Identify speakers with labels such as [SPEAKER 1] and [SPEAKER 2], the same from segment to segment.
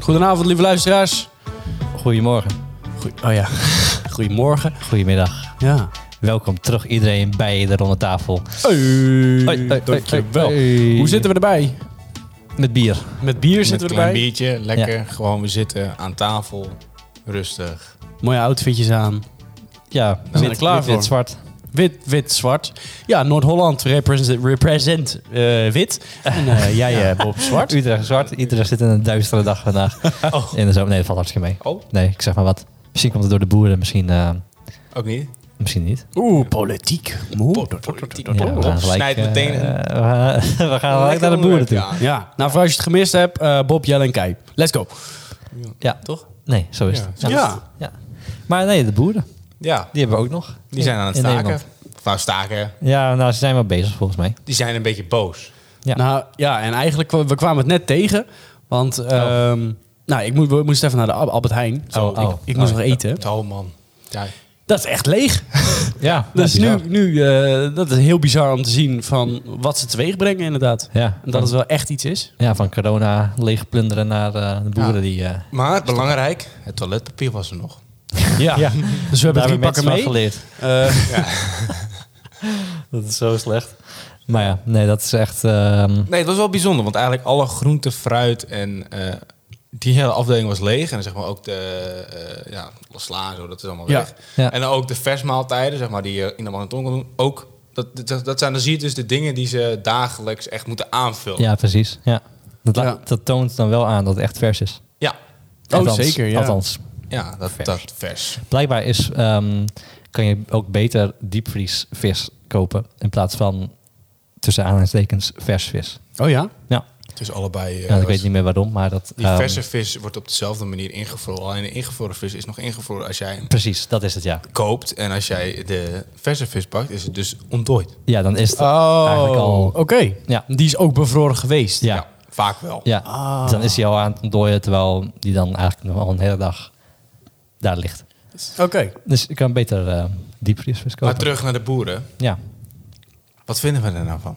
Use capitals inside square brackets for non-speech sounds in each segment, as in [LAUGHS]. [SPEAKER 1] Goedenavond, lieve luisteraars.
[SPEAKER 2] Goedemorgen,
[SPEAKER 1] Goe- oh ja, [LAUGHS] goedemorgen.
[SPEAKER 2] goedemiddag.
[SPEAKER 1] Ja.
[SPEAKER 2] Welkom terug iedereen bij de ronde tafel.
[SPEAKER 1] Hey,
[SPEAKER 2] Hoi, hoi,
[SPEAKER 1] dankjewel.
[SPEAKER 2] hoi, hoi.
[SPEAKER 1] Hoe zitten we erbij?
[SPEAKER 2] Met bier.
[SPEAKER 1] Met bier
[SPEAKER 3] Met
[SPEAKER 1] zitten
[SPEAKER 3] een
[SPEAKER 1] we
[SPEAKER 3] klein
[SPEAKER 1] erbij.
[SPEAKER 3] biertje, lekker. Gewoon, we zitten aan tafel, rustig.
[SPEAKER 1] Mooie outfitjes aan.
[SPEAKER 2] Ja,
[SPEAKER 1] we
[SPEAKER 2] wit,
[SPEAKER 1] er klaar
[SPEAKER 2] wit,
[SPEAKER 1] voor.
[SPEAKER 2] wit, zwart.
[SPEAKER 1] Wit, wit, zwart. Ja, Noord-Holland represent, represent eh, [LAUGHS] wit. En eh, jij eh, Bob zwart.
[SPEAKER 2] Utrecht zwart. Utrecht zit in een duistere dag vandaag.
[SPEAKER 3] Oh.
[SPEAKER 2] In de zomer. Nee, dat valt hartstikke mee.
[SPEAKER 3] Oh,
[SPEAKER 2] Nee, ik zeg maar wat. Misschien komt het door de boeren, misschien, eh,
[SPEAKER 3] ook niet.
[SPEAKER 2] misschien niet.
[SPEAKER 1] Oeh, politiek. Moe.
[SPEAKER 2] Ja, we gaan gelijk,
[SPEAKER 3] Snijdt
[SPEAKER 2] eh,
[SPEAKER 3] meteen een-
[SPEAKER 2] eh, [LAUGHS] we gaan- we gaan gelijk naar de boeren toe.
[SPEAKER 3] Ja.
[SPEAKER 1] Ja, nou voor als je het gemist hebt, eh, Bob, Jelle en Kai. Let's go.
[SPEAKER 2] Ja.
[SPEAKER 3] Toch?
[SPEAKER 2] Nee, zo is
[SPEAKER 3] Ja,
[SPEAKER 2] het.
[SPEAKER 3] zo
[SPEAKER 1] is het.
[SPEAKER 2] ja. Maar nee, de boeren.
[SPEAKER 3] Ja,
[SPEAKER 2] Die hebben we ook nog.
[SPEAKER 3] die zijn aan het
[SPEAKER 2] In
[SPEAKER 3] staken.
[SPEAKER 2] Nederland.
[SPEAKER 3] Van staken.
[SPEAKER 2] Ja, nou, ze zijn wel bezig volgens mij.
[SPEAKER 3] Die zijn een beetje boos.
[SPEAKER 2] Ja.
[SPEAKER 1] Nou ja, en eigenlijk, kwa- we kwamen het net tegen. Want, ehm, nou, ik moest, we moesten even naar de Al- Albert Heijn. Zo,
[SPEAKER 2] Oh, oh.
[SPEAKER 1] ik, ik moest nog eten.
[SPEAKER 3] Oh man. Ja.
[SPEAKER 1] Dat is echt [LAUGHS] leeg.
[SPEAKER 2] Ja,
[SPEAKER 1] Dus nu, nu eh, dat is heel bizar om te zien van wat ze teweeg brengen inderdaad.
[SPEAKER 2] Ja,
[SPEAKER 1] En dat het wel echt iets is.
[SPEAKER 2] Ja, van corona leeg plunderen naar eh, de boeren die... [LAUGHS] eh,
[SPEAKER 3] Maar belangrijk, het toiletpapier was er nog.
[SPEAKER 1] Ja. [LAUGHS] Dus we hebben drie pakken mee.
[SPEAKER 2] geleerd.
[SPEAKER 1] Eh,
[SPEAKER 2] Dat is zo slecht. Maar ja, nee, dat is echt... ehm,
[SPEAKER 3] Nee, het was wel bijzonder, want eigenlijk alle groente, fruit en eh, die hele afdeling was leeg. En dan zeg maar ook de eh, ja, sla, en zo, dat is allemaal
[SPEAKER 1] Ja.
[SPEAKER 3] weg.
[SPEAKER 2] Ja.
[SPEAKER 3] En dan ook de versmaaltijden, zeg maar, die je in de marathon kon doen. Ook, dat, dat, dat zijn, dan zie je dus de dingen die ze dagelijks echt moeten aanvullen.
[SPEAKER 2] ja, precies. Ja. Dat, la-
[SPEAKER 1] Ja.
[SPEAKER 2] dat toont dan wel aan dat het echt vers is.
[SPEAKER 3] ja,
[SPEAKER 1] Oh, zeker, ja.
[SPEAKER 2] Althans.
[SPEAKER 3] Ja, dat vers. Dat vers.
[SPEAKER 2] Blijkbaar is, ehm, kan je ook beter diepvriesvis kopen... in plaats van, tussen aanhalingstekens, vers vis.
[SPEAKER 1] oh ja?
[SPEAKER 2] Ja,
[SPEAKER 3] Dus allebei. eh,
[SPEAKER 2] ja ik
[SPEAKER 3] wat-
[SPEAKER 2] weet niet meer waarom, maar dat...
[SPEAKER 3] Die
[SPEAKER 2] ehm,
[SPEAKER 3] verse vis wordt op dezelfde manier ingevroren. Alleen de ingevroren vis is nog ingevroren als jij hem
[SPEAKER 2] Precies, dat is het, ja.
[SPEAKER 3] koopt. En als jij de verse vis pakt, is het dus ontdooid.
[SPEAKER 2] Ja, dan is het
[SPEAKER 1] Oh,
[SPEAKER 2] eigenlijk al...
[SPEAKER 1] oké.
[SPEAKER 2] Ja.
[SPEAKER 1] Die is ook bevroren geweest.
[SPEAKER 2] Ja,
[SPEAKER 3] vaak wel.
[SPEAKER 2] Ja, dus dan is hij al aan het ontdooien, terwijl die dan eigenlijk nog al een hele dag daar ligt.
[SPEAKER 1] Oké.
[SPEAKER 2] Dus ik kan beter eh diepvriesvis kopen.
[SPEAKER 3] Maar terug naar de boeren.
[SPEAKER 2] Ja.
[SPEAKER 3] Wat vinden we er nou van?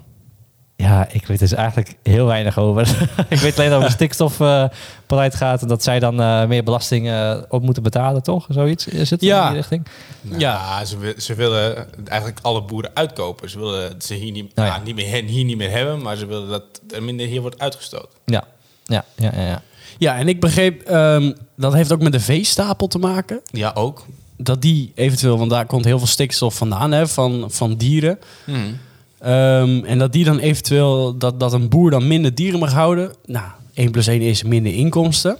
[SPEAKER 2] ja, ik weet dus eigenlijk heel weinig over. [LAUGHS] ik weet alleen dat het stikstofbeleid gaat en dat zij dan eh, meer belasting eh, op moeten betalen, toch? Zoiets is het
[SPEAKER 1] Ja.
[SPEAKER 2] in die richting?
[SPEAKER 3] Nou,
[SPEAKER 1] Ja.
[SPEAKER 3] ze, wi- ze willen eigenlijk alle boeren uitkopen. Ze willen ze hier niet,
[SPEAKER 2] Nou ja.
[SPEAKER 3] nou, niet meer, hen hier niet meer hebben, maar ze willen dat er minder hier wordt uitgestoten.
[SPEAKER 2] Ja, ja, ja, ja. ja.
[SPEAKER 1] Ja, en ik begreep, ehm, dat heeft ook met de veestapel te maken.
[SPEAKER 3] Ja, ook.
[SPEAKER 1] Dat die eventueel, want daar komt heel veel stikstof vandaan hè, van, van dieren.
[SPEAKER 3] Hmm.
[SPEAKER 1] Ehm, en dat die dan eventueel, dat, dat een boer dan minder dieren mag houden. Nou, 1 plus 1 is minder inkomsten.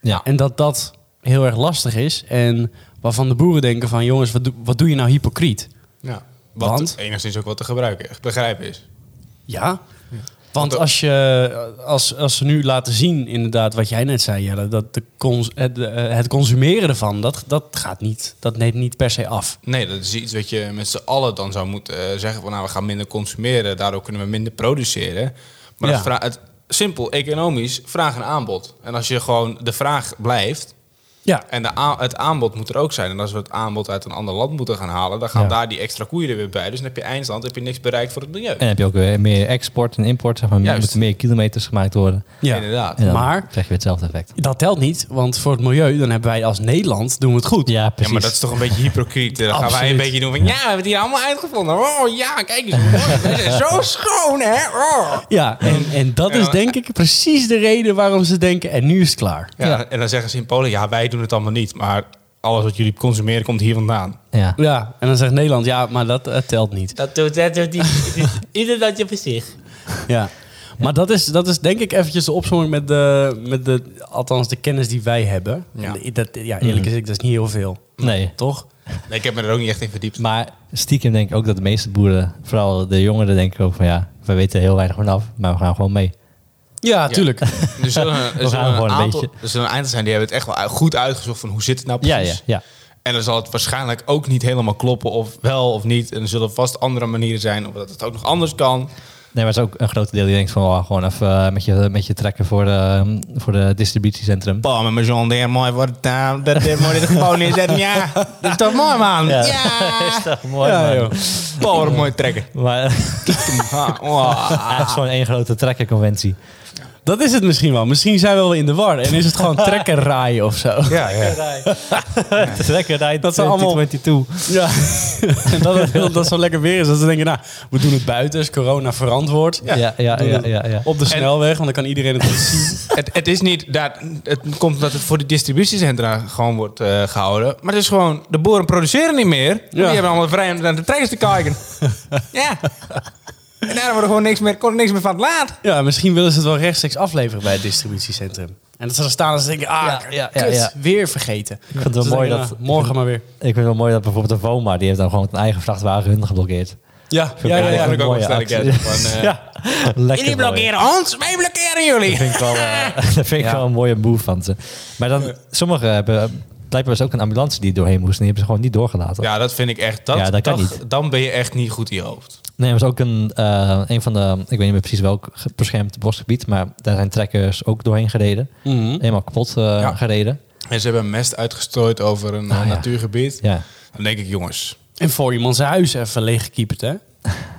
[SPEAKER 2] ja.
[SPEAKER 1] En dat dat heel erg lastig is. En waarvan de boeren denken van, jongens, wat, doe- wat doe je nou hypocriet?
[SPEAKER 3] Ja. Wat
[SPEAKER 1] Want?
[SPEAKER 3] enigszins ook wat te gebruiken, echt begrijpen is.
[SPEAKER 1] Ja. Want als, je, als, als ze nu laten zien, inderdaad, wat jij net zei, Jelle, dat de cons- het, eh, het consumeren ervan, dat, dat gaat niet. Dat neemt niet per se af.
[SPEAKER 3] Nee, dat is iets wat je met z'n allen dan zou moeten eh, zeggen. Van, nou, we gaan minder consumeren, daardoor kunnen we minder produceren. Maar
[SPEAKER 1] Ja.
[SPEAKER 3] het, vra- het, simpel, economisch, vraag en aanbod. En als je gewoon de vraag blijft,
[SPEAKER 1] Ja.
[SPEAKER 3] en de a- het aanbod moet er ook zijn. En als we het aanbod uit een ander land moeten gaan halen, dan gaan
[SPEAKER 2] Ja.
[SPEAKER 3] daar die extra koeien er weer bij. Dus dan heb je eindstand, heb je niks bereikt voor het milieu.
[SPEAKER 2] En dan heb je ook weer meer export en import, zeg maar. Er
[SPEAKER 3] Juist.
[SPEAKER 2] moeten meer kilometers gemaakt worden.
[SPEAKER 1] ja.
[SPEAKER 3] Inderdaad.
[SPEAKER 2] En dan
[SPEAKER 1] Maar-
[SPEAKER 2] krijg je weer hetzelfde effect.
[SPEAKER 1] Dat telt niet, want voor het milieu, dan hebben wij als Nederland, doen we het goed.
[SPEAKER 2] Ja, precies.
[SPEAKER 3] Ja, maar dat is toch een beetje hypocriet. Dan gaan wij
[SPEAKER 1] Absoluut.
[SPEAKER 3] een beetje doen van, ja, we hebben het hier allemaal uitgevonden. Oh ja, kijk eens. mooi. Wij zijn zo schoon, hè? Oh.
[SPEAKER 1] Ja, en, en dat is
[SPEAKER 3] Ja.
[SPEAKER 1] denk ik precies de reden waarom ze denken, en nu is het klaar.
[SPEAKER 3] Ja, En dan zeggen ze in Polen, ja, wij doen het allemaal niet. Maar alles wat jullie consumeren komt hier vandaan.
[SPEAKER 2] Ja.
[SPEAKER 1] Ja, en dan zegt Nederland, ja, maar dat eh, telt niet.
[SPEAKER 4] Dat doet, dat doet
[SPEAKER 1] [LAUGHS]
[SPEAKER 4] niet. Ieder dat je voor zich.
[SPEAKER 1] Ja. Maar dat is, dat is denk ik eventjes de opzomming met de, met de, althans de kennis die wij hebben.
[SPEAKER 3] Ja.
[SPEAKER 1] En Dat, ja, eerlijk gezegd, dat is niet heel veel.
[SPEAKER 2] Mhm. Nee.
[SPEAKER 1] Toch?
[SPEAKER 3] Nee, ik heb me er ook niet echt in verdiept.
[SPEAKER 2] Maar stiekem denk ik ook dat de meeste boeren, vooral de jongeren, denken ook van ja, we weten er heel weinig vanaf, maar we gaan gewoon mee.
[SPEAKER 1] Ja, [LAUGHS]
[SPEAKER 3] Ja.
[SPEAKER 1] tuurlijk.
[SPEAKER 3] Er zullen, er zullen
[SPEAKER 2] gewoon
[SPEAKER 3] een
[SPEAKER 2] een
[SPEAKER 3] aantal,
[SPEAKER 2] beetje.
[SPEAKER 3] er zullen een aantal zijn die hebben het echt wel goed uitgezocht van hoe zit het nou precies.
[SPEAKER 2] Ja, ja, ja.
[SPEAKER 3] En dan zal het waarschijnlijk ook niet helemaal kloppen of wel of niet. En er zullen vast andere manieren zijn of dat het ook nog anders kan.
[SPEAKER 2] Nee, maar het is ook een groot deel die denkt van oh, gewoon even eh, met, je, met je trekken voor de, voor de distributiecentrum.
[SPEAKER 3] Bam, en mijn zoon deed mooi voor het taal, dat dit mooi in het gewoon inzetten. Ja, dat is toch mooi man. Ja.
[SPEAKER 2] is toch mooi, man.
[SPEAKER 3] Bam, wat een mooi trekken.
[SPEAKER 2] Maar
[SPEAKER 3] Ah, wow.
[SPEAKER 2] [LAUGHS] het is gewoon één grote trekkerconventie.
[SPEAKER 1] Dat is het misschien wel. Misschien zijn we wel in de war. En is het
[SPEAKER 2] [LAUGHS]
[SPEAKER 1] gewoon trekkerraai of zo.
[SPEAKER 3] Ja, ja.
[SPEAKER 2] Het is lekker,
[SPEAKER 1] Dat
[SPEAKER 2] dat
[SPEAKER 1] zijn allemaal-
[SPEAKER 2] 2022.
[SPEAKER 1] Ja. [LAUGHS] en dat het dat het zo lekker weer is. Dat ze denken, nou, we doen het buiten. Is corona verantwoord.
[SPEAKER 2] Ja, ja, ja, ja. ja,
[SPEAKER 1] Op de snelweg, want dan kan iedereen het zien.
[SPEAKER 3] Het, het is niet dat het komt omdat het voor de distributiecentra gewoon wordt eh, gehouden. Maar het is gewoon, de boeren produceren niet meer. Die hebben allemaal vrij om naar de trekkers te kijken. ja. En daarom wordt er gewoon niks meer, kon er niks meer van het laat.
[SPEAKER 1] Ja, misschien willen ze het wel rechtstreeks afleveren bij het distributiecentrum. En dat ze er staan en ze denken, ah,
[SPEAKER 2] Ja, ja, ja,
[SPEAKER 1] kut,
[SPEAKER 2] ja.
[SPEAKER 1] weer vergeten. Dus Ik ah,
[SPEAKER 2] vind het wel mooi dat-
[SPEAKER 1] morgen maar weer.
[SPEAKER 2] Ik vind het wel mooi dat bijvoorbeeld de Voma, die heeft dan gewoon een eigen vrachtwagen hun geblokkeerd.
[SPEAKER 1] Ja,
[SPEAKER 2] ja, ja, ja.
[SPEAKER 3] Eigenlijk ook
[SPEAKER 2] Mooie
[SPEAKER 3] wel sterk.
[SPEAKER 2] actie.
[SPEAKER 3] eh,
[SPEAKER 2] Ja, lekker
[SPEAKER 3] Jullie
[SPEAKER 2] mooi.
[SPEAKER 3] blokkeren ons, wij blokkeren
[SPEAKER 2] Dat [LAUGHS]
[SPEAKER 3] jullie.
[SPEAKER 2] vind ik wel,
[SPEAKER 3] [LAUGHS]
[SPEAKER 2] eh, dat vind ik wel een mooie move van ze. Maar dan, sommigen hebben blijkbaar was ook een ambulance die er doorheen moest. En die hebben ze gewoon niet doorgelaten.
[SPEAKER 3] Ja, dat vind ik echt. Dat,
[SPEAKER 2] Ja, dat kan
[SPEAKER 3] Dan ben je echt niet goed in je hoofd.
[SPEAKER 2] Nee, er was ook een, eh, een van de, ik weet niet meer precies welk ge- beschermd bosgebied, maar daar zijn trekkers ook doorheen gereden. Helemaal kapot eh,
[SPEAKER 3] Mhm. Ja.
[SPEAKER 2] gereden.
[SPEAKER 3] En ze hebben mest uitgestrooid over een eh,
[SPEAKER 2] Ah, ja.
[SPEAKER 3] natuurgebied.
[SPEAKER 2] Ja.
[SPEAKER 3] Dan denk ik, jongens.
[SPEAKER 1] En voor iemand zijn huis even leeggekieperd, hè?
[SPEAKER 2] Ja.